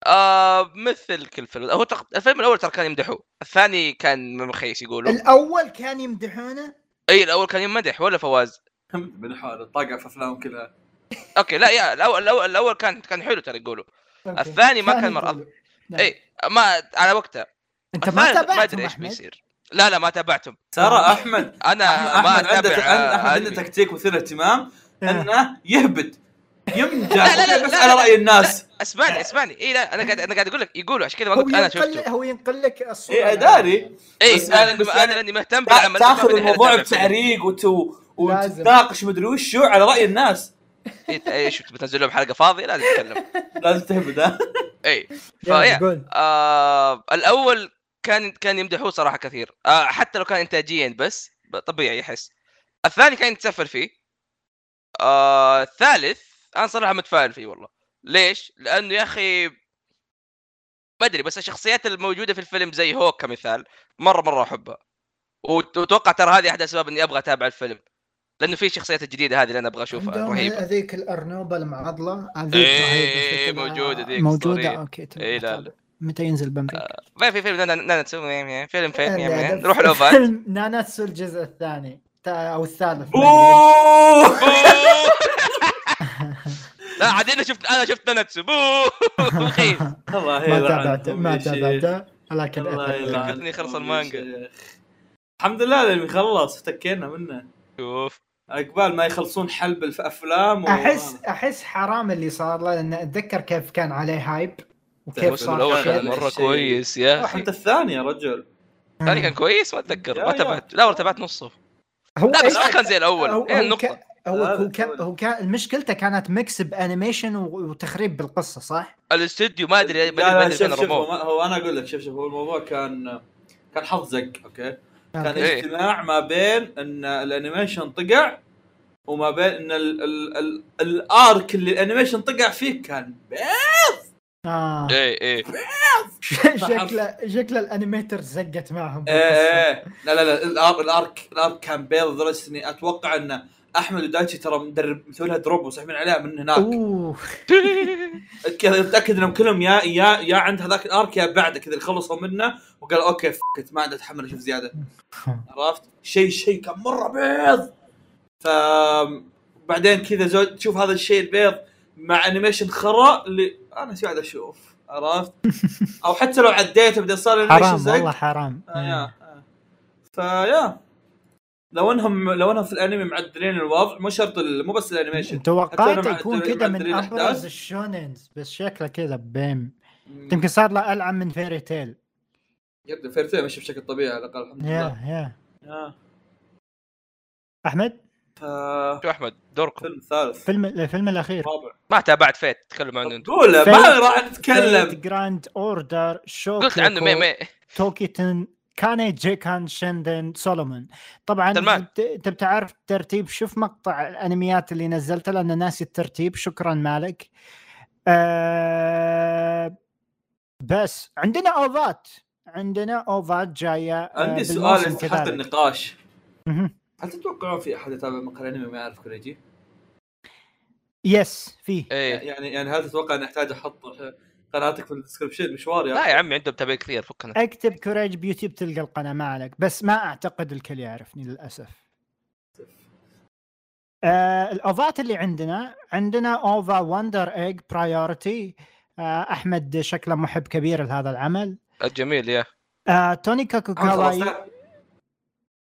Speaker 2: آه مثل كل فيلم هو تق... الفيلم الاول ترى كان يمدحوه الثاني كان مخيس يقولوا
Speaker 3: الاول كان يمدحونه
Speaker 2: اي الاول كان يمدح ولا فواز
Speaker 1: *laughs* من حاله طاقع في افلام كلها
Speaker 2: اوكي لا يا الاول الاول, الأول كان كان حلو ترى يقولوا
Speaker 3: أوكي.
Speaker 2: الثاني ما كان مرة
Speaker 3: حلو. نعم.
Speaker 2: اي ما على وقتها
Speaker 3: انت ما
Speaker 2: الثاني ما
Speaker 3: تابعت
Speaker 2: ادري ايش
Speaker 3: ايش
Speaker 2: بيصير لا لا ما تابعتهم
Speaker 1: ترى احمد
Speaker 2: *laughs* انا ما
Speaker 1: احمد عنده
Speaker 2: اتابع
Speaker 1: أحمد
Speaker 2: آه،
Speaker 1: عنده
Speaker 2: أنمي.
Speaker 1: تكتيك مثير اهتمام
Speaker 3: إيه. آه.
Speaker 1: انه يهبد
Speaker 2: *laughs*
Speaker 1: يمدح
Speaker 2: لا، لا، لا،
Speaker 1: بس
Speaker 2: لا،
Speaker 1: على
Speaker 2: لا.
Speaker 1: راي
Speaker 2: *laughs*
Speaker 1: الناس
Speaker 2: اسمعني اسمعني اي لا انا قاعد انا قاعد اقول لك يقولوا عشان كذا ما
Speaker 3: هو
Speaker 2: قلت انا
Speaker 3: ينقل
Speaker 2: شفته
Speaker 3: هو ينقل لك الصوره
Speaker 1: إيه، أداري.
Speaker 2: اي
Speaker 1: بس-
Speaker 2: انا
Speaker 1: بس
Speaker 2: انا
Speaker 1: يعني
Speaker 2: لاني مهتم
Speaker 1: تا-
Speaker 2: بالعمل
Speaker 1: تاخذ
Speaker 2: الثقافي أنا
Speaker 1: الموضوع
Speaker 2: أتابع فيه.
Speaker 1: بتعريق وتو
Speaker 3: لازم.
Speaker 1: وتتناقش مدري وشو على راي الناس
Speaker 2: إيه، اي شفت بتنزل لهم حلقه فاضيه لازم اتكلم
Speaker 1: لازم تهبد *laughs* ها
Speaker 2: اي
Speaker 3: يلا،
Speaker 2: فيا
Speaker 3: قول
Speaker 2: آه الاول كان كان يمدحوه صراحه كثير آه حتى لو كان انتاجيا بس ب- طبيعي يحس الثاني كان يتسفل فيه آه الثالث انا صراحه متفائل فيه والله ليش؟ لانه يا اخي ما ادري بس الشخصيات الموجوده في الفيلم زي هوك كمثال مره مره احبها وت- واتوقع ترى هذه احد الاسباب اني ابغى اتابع الفيلم لانه في شخصيات الجديده هذه اللي انا ابغى اشوفها
Speaker 3: عندهم
Speaker 2: رهيبه
Speaker 3: هذيك الارنوبه المعضله هذيك
Speaker 2: إيه،
Speaker 3: رهيبة شكلها.
Speaker 2: موجودة ذيك
Speaker 3: موجوده
Speaker 2: الصغيرة.
Speaker 3: اوكي تمام
Speaker 2: إيه، لا، آه،
Speaker 3: أتابع. متى ينزل بمريكا؟
Speaker 2: ما في فيلم نا- نا- نا- نسوي ميم- ميم، فيلم فيلم ميم-
Speaker 3: لا،
Speaker 2: ميم.
Speaker 3: ده
Speaker 2: نروح الاوفات
Speaker 3: فيلم *laughs* ناناتسو الجزء الثاني تا- او الثالث ما
Speaker 1: أوه.
Speaker 2: لا عاد انا شفت انا شفت ناناتسو بو
Speaker 3: أدري.
Speaker 2: خير
Speaker 1: الله
Speaker 3: ما
Speaker 1: يلعن
Speaker 3: تابعته
Speaker 1: أم
Speaker 3: ما
Speaker 1: الشيخ.
Speaker 3: تابعته ولكن
Speaker 1: الله
Speaker 3: أتابعه.
Speaker 1: يلعن
Speaker 2: فكرتني خلص
Speaker 1: أم
Speaker 2: المانجا.
Speaker 1: الشيخ. الحمد لله لما يخلص افتكينا منه
Speaker 2: شوف
Speaker 1: عقبال ما يخلصون حلب الافلام و...
Speaker 3: احس احس حرام اللي صار له لان اتذكر كيف كان عليه هايب وكيف
Speaker 2: الموسم
Speaker 3: صار
Speaker 2: الاول
Speaker 1: شيء.
Speaker 2: كان
Speaker 3: شيء.
Speaker 2: مره
Speaker 1: شيء.
Speaker 2: كويس يا اخي
Speaker 1: حتى الثاني يا رجل
Speaker 2: الثاني كان كويس ما اتذكر
Speaker 1: يا-
Speaker 2: ما
Speaker 1: يا.
Speaker 2: تابعت لا والله تابعت نصه
Speaker 3: هو
Speaker 2: لا بس
Speaker 3: إيش-
Speaker 2: ما كان زي إيه، الاول
Speaker 3: هو
Speaker 2: هي
Speaker 3: هو
Speaker 2: النقطه
Speaker 3: كان- هو
Speaker 1: هذا
Speaker 3: هو كان
Speaker 1: السبب.
Speaker 3: هو كان مشكلته كانت ميكس بانيميشن و- وتخريب بالقصه صح؟
Speaker 2: الاستوديو ما ادري ما
Speaker 1: لا،
Speaker 2: ادري
Speaker 1: لا،
Speaker 2: ما ادري فين
Speaker 1: شوف شوف هو,
Speaker 2: رموه
Speaker 1: ما- هو انا اقول لك شوف شوف هو الموضوع كان كان حظ زق اوكي كان
Speaker 2: إيه.
Speaker 1: اجتماع ما بين ان الانيميشن طقع وما بين ان ال ال ال الارك اللي الانيميشن طقع فيه كان
Speaker 3: آه.
Speaker 2: ايه ايه
Speaker 3: *laughs* شكله شكله الانيميتر زقت معهم
Speaker 2: إيه،
Speaker 3: بالقصة.
Speaker 1: ايه ايه لا لا لا الارك الارك, الارك كان بيض لدرجه اني اتوقع ان احمد ودايتشي ترى مدرب مسوي لها دروب وسحبين عليها من هناك
Speaker 3: اوه
Speaker 1: كذا متاكد انهم كلهم يا يا يا عند هذاك الارك يا بعده كذا اللي خلصوا منه وقال اوكي فكت ما عاد اتحمل اشوف زياده عرفت شيء شيء كان مره بيض ف بعدين كذا زود تشوف هذا الشيء البيض مع انيميشن خرا اللي انا شو قاعد اشوف
Speaker 3: *laughs*
Speaker 1: عرفت او حتى لو عديته بدي صار animation
Speaker 3: حرام
Speaker 1: زق.
Speaker 3: والله حرام إيه.
Speaker 1: آه، يا، آه. فيا لو انهم لو انهم في الانمي معدلين الوضع مو شرط ال- مو بس الانيميشن
Speaker 3: توقعت
Speaker 1: حتى أنا
Speaker 3: يكون
Speaker 1: معدل-
Speaker 3: كذا من
Speaker 1: معدلين
Speaker 3: ابرز
Speaker 1: الأحداث.
Speaker 3: الشوننز بس شكله كذا بيم يمكن صار له العب من فيري تيل
Speaker 1: يبدا فيرتين ماشي بشكل طبيعي على الاقل الحمد
Speaker 3: يا
Speaker 1: لله
Speaker 3: يا
Speaker 1: يا.
Speaker 3: احمد
Speaker 1: ف-
Speaker 2: شو احمد دوركم
Speaker 1: فيلم ثالث
Speaker 3: فيلم الفيلم الاخير
Speaker 1: رابع
Speaker 2: ما تابعت فيت تكلم عنه انتم
Speaker 1: قوله ما
Speaker 3: فيلم-
Speaker 1: راح نتكلم
Speaker 3: جراند اوردر شو
Speaker 2: قلت عنه مي مي
Speaker 3: توكيتن كاني جيكان شندن سولومون طبعا
Speaker 2: سلمان.
Speaker 3: انت أنت بتعرف الترتيب شوف مقطع الانميات اللي نزلته لان ناسي الترتيب شكرا مالك آه بس عندنا اوفات عندنا اوفات جايه آه،
Speaker 1: عندي
Speaker 3: بالموسم
Speaker 1: سؤال
Speaker 3: كذلك.
Speaker 1: حتى النقاش
Speaker 3: مهم.
Speaker 1: هل تتوقعون في احد يتابع مقهى الانمي ما يعرف كوريجي؟
Speaker 3: يس فيه
Speaker 2: ايه
Speaker 1: يعني يعني هل تتوقع اني احتاج احط قناتك في الديسكربشن مشوار يا
Speaker 2: لا يا عمي عندهم تابعين كثير فكنا
Speaker 3: اكتب كوريج بيوتيوب تلقى القناه ما عليك بس ما اعتقد الكل يعرفني للاسف آه الاوفات اللي عندنا عندنا اوفا وندر ايج برايورتي آه احمد شكله محب كبير لهذا العمل
Speaker 2: جميل يا
Speaker 3: آه توني
Speaker 1: عمري
Speaker 3: كاكوكاواي
Speaker 1: 15.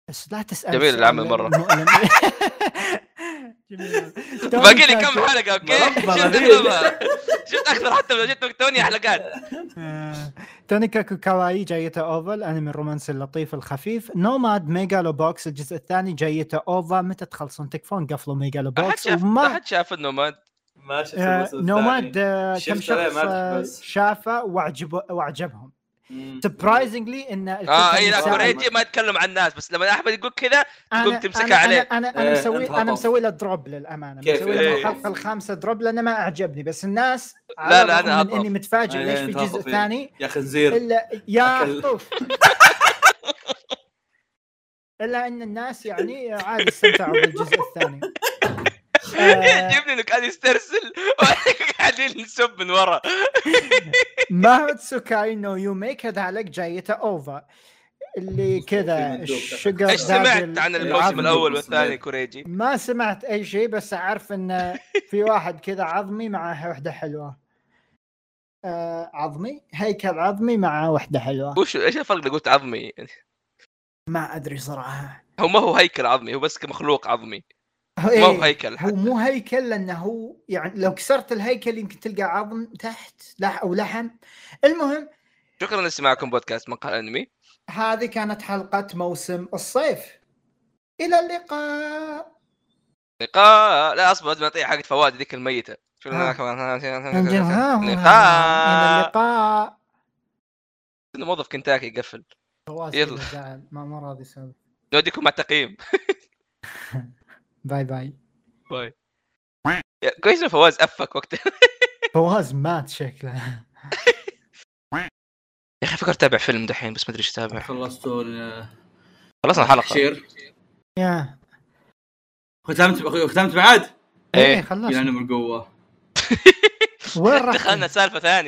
Speaker 3: بس لا تسال
Speaker 2: جميل
Speaker 3: سؤال
Speaker 2: العمل مرة.
Speaker 3: مؤلم. *laughs* جميل. توني
Speaker 2: باقي لي كم
Speaker 3: كاكو-
Speaker 2: حلقه اوكي
Speaker 1: مربى
Speaker 2: شفت
Speaker 1: غريب.
Speaker 2: الربع. شفت اكثر حتى لو جيت توني حلقات
Speaker 3: آه، توني كاكوكاواي جايته اوفا الانمي الرومانسي اللطيف الخفيف نوماد ميجالو بوكس الجزء الثاني جايته اوفا متى تخلصون تكفون قفلوا ميجالو
Speaker 2: احد
Speaker 3: بوكس
Speaker 2: شاف
Speaker 3: وما
Speaker 2: احد شاف انه ما
Speaker 1: ما شفت
Speaker 3: آه،
Speaker 1: الموسم
Speaker 3: نوماد
Speaker 1: الثاني.
Speaker 3: آه، كم
Speaker 1: شفت عليه
Speaker 3: شخص
Speaker 1: مدح
Speaker 3: آه،
Speaker 1: بس.
Speaker 3: شافه وعجبه وعجبهم
Speaker 1: مم. آه، إيه،
Speaker 3: سبرايزنجلي ان الكل
Speaker 2: اه
Speaker 3: كان
Speaker 2: اي لا
Speaker 3: يساعد.
Speaker 2: كوريجي ما يتكلم عن الناس بس لما احمد يقول كذا تقوم
Speaker 3: أنا-
Speaker 2: تمسكها
Speaker 3: أنا-
Speaker 2: عليه.
Speaker 3: انا انا
Speaker 1: إيه،
Speaker 3: انا مسوي
Speaker 1: أنت
Speaker 3: انا
Speaker 1: هطف.
Speaker 3: مسوي له دروب للامانه
Speaker 1: كيف؟
Speaker 3: مسوي له
Speaker 1: إيه.
Speaker 3: الحلقه الخامسه دروب لانه ما اعجبني بس الناس على
Speaker 2: لا، لا،
Speaker 3: الرغم
Speaker 2: أنا
Speaker 3: من
Speaker 2: هطف.
Speaker 3: اني متفاجئ
Speaker 1: إيه،
Speaker 3: ليش في
Speaker 1: أنت
Speaker 3: الجزء
Speaker 1: هطف، إيه.
Speaker 3: الثاني
Speaker 1: يا خنزير
Speaker 3: الا يا
Speaker 1: أكل.
Speaker 3: طف الا ان الناس يعني عادي استمتعوا بالجزء الثاني
Speaker 2: *laughs* يعجبني انه قاعد يسترسل *laughs* قاعدين نسب من ورا
Speaker 3: ماهوتسوكاي نو يومي كذا عليك جايته اوفر اللي كذا شجر
Speaker 2: ايش سمعت
Speaker 3: دادل
Speaker 2: عن الموسم
Speaker 3: العظمي.
Speaker 2: الاول والثاني كوريجي؟
Speaker 3: ما سمعت اي شيء بس اعرف ان في واحد كذا عظمي مع وحده حلوه آه عظمي هيكل عظمي مع وحده حلوه
Speaker 2: وش ايش الفرق اللي قلت عظمي؟
Speaker 3: ما ادري صراحه
Speaker 2: هو ما هو هيكل عظمي هو بس مخلوق عظمي
Speaker 3: هو,
Speaker 2: ما هو
Speaker 3: إيه
Speaker 2: هيكل
Speaker 3: هو
Speaker 2: حتى
Speaker 3: مو هيكل لانه هو يعني لو كسرت الهيكل يمكن تلقى عظم تحت لح او لحم المهم
Speaker 2: شكرا لسماعكم بودكاست مقهى الانمي
Speaker 3: هذه كانت حلقه موسم الصيف الى اللقاء
Speaker 2: لقاء لا اصبر لازم اعطيه حق فواد ذيك الميته شكرا
Speaker 3: ها.
Speaker 2: لكم. آه،
Speaker 3: آه، الى
Speaker 2: لقاء
Speaker 3: اللقاء
Speaker 2: إنه موظف كنتاكي يقفل
Speaker 3: فواز
Speaker 2: يلا.
Speaker 3: كذا زعل ما ما راضي يسوي
Speaker 2: نوديكم مع التقييم
Speaker 3: باي باي
Speaker 2: باي يا- كويس إنه فواز افك وقتها
Speaker 3: فواز مات شكله *laughs*
Speaker 2: يا اخي فكرت اتابع فيلم دحين بس ما ادري ايش اتابع
Speaker 1: خلصتوا
Speaker 2: خلصنا الحلقه
Speaker 1: التحشير
Speaker 3: يا
Speaker 1: ختمت ختمت بعد يعني
Speaker 2: إيه.
Speaker 3: ايه خلاص
Speaker 1: يلعنهم القوه
Speaker 3: وين راح
Speaker 2: دخلنا سالفه ثانيه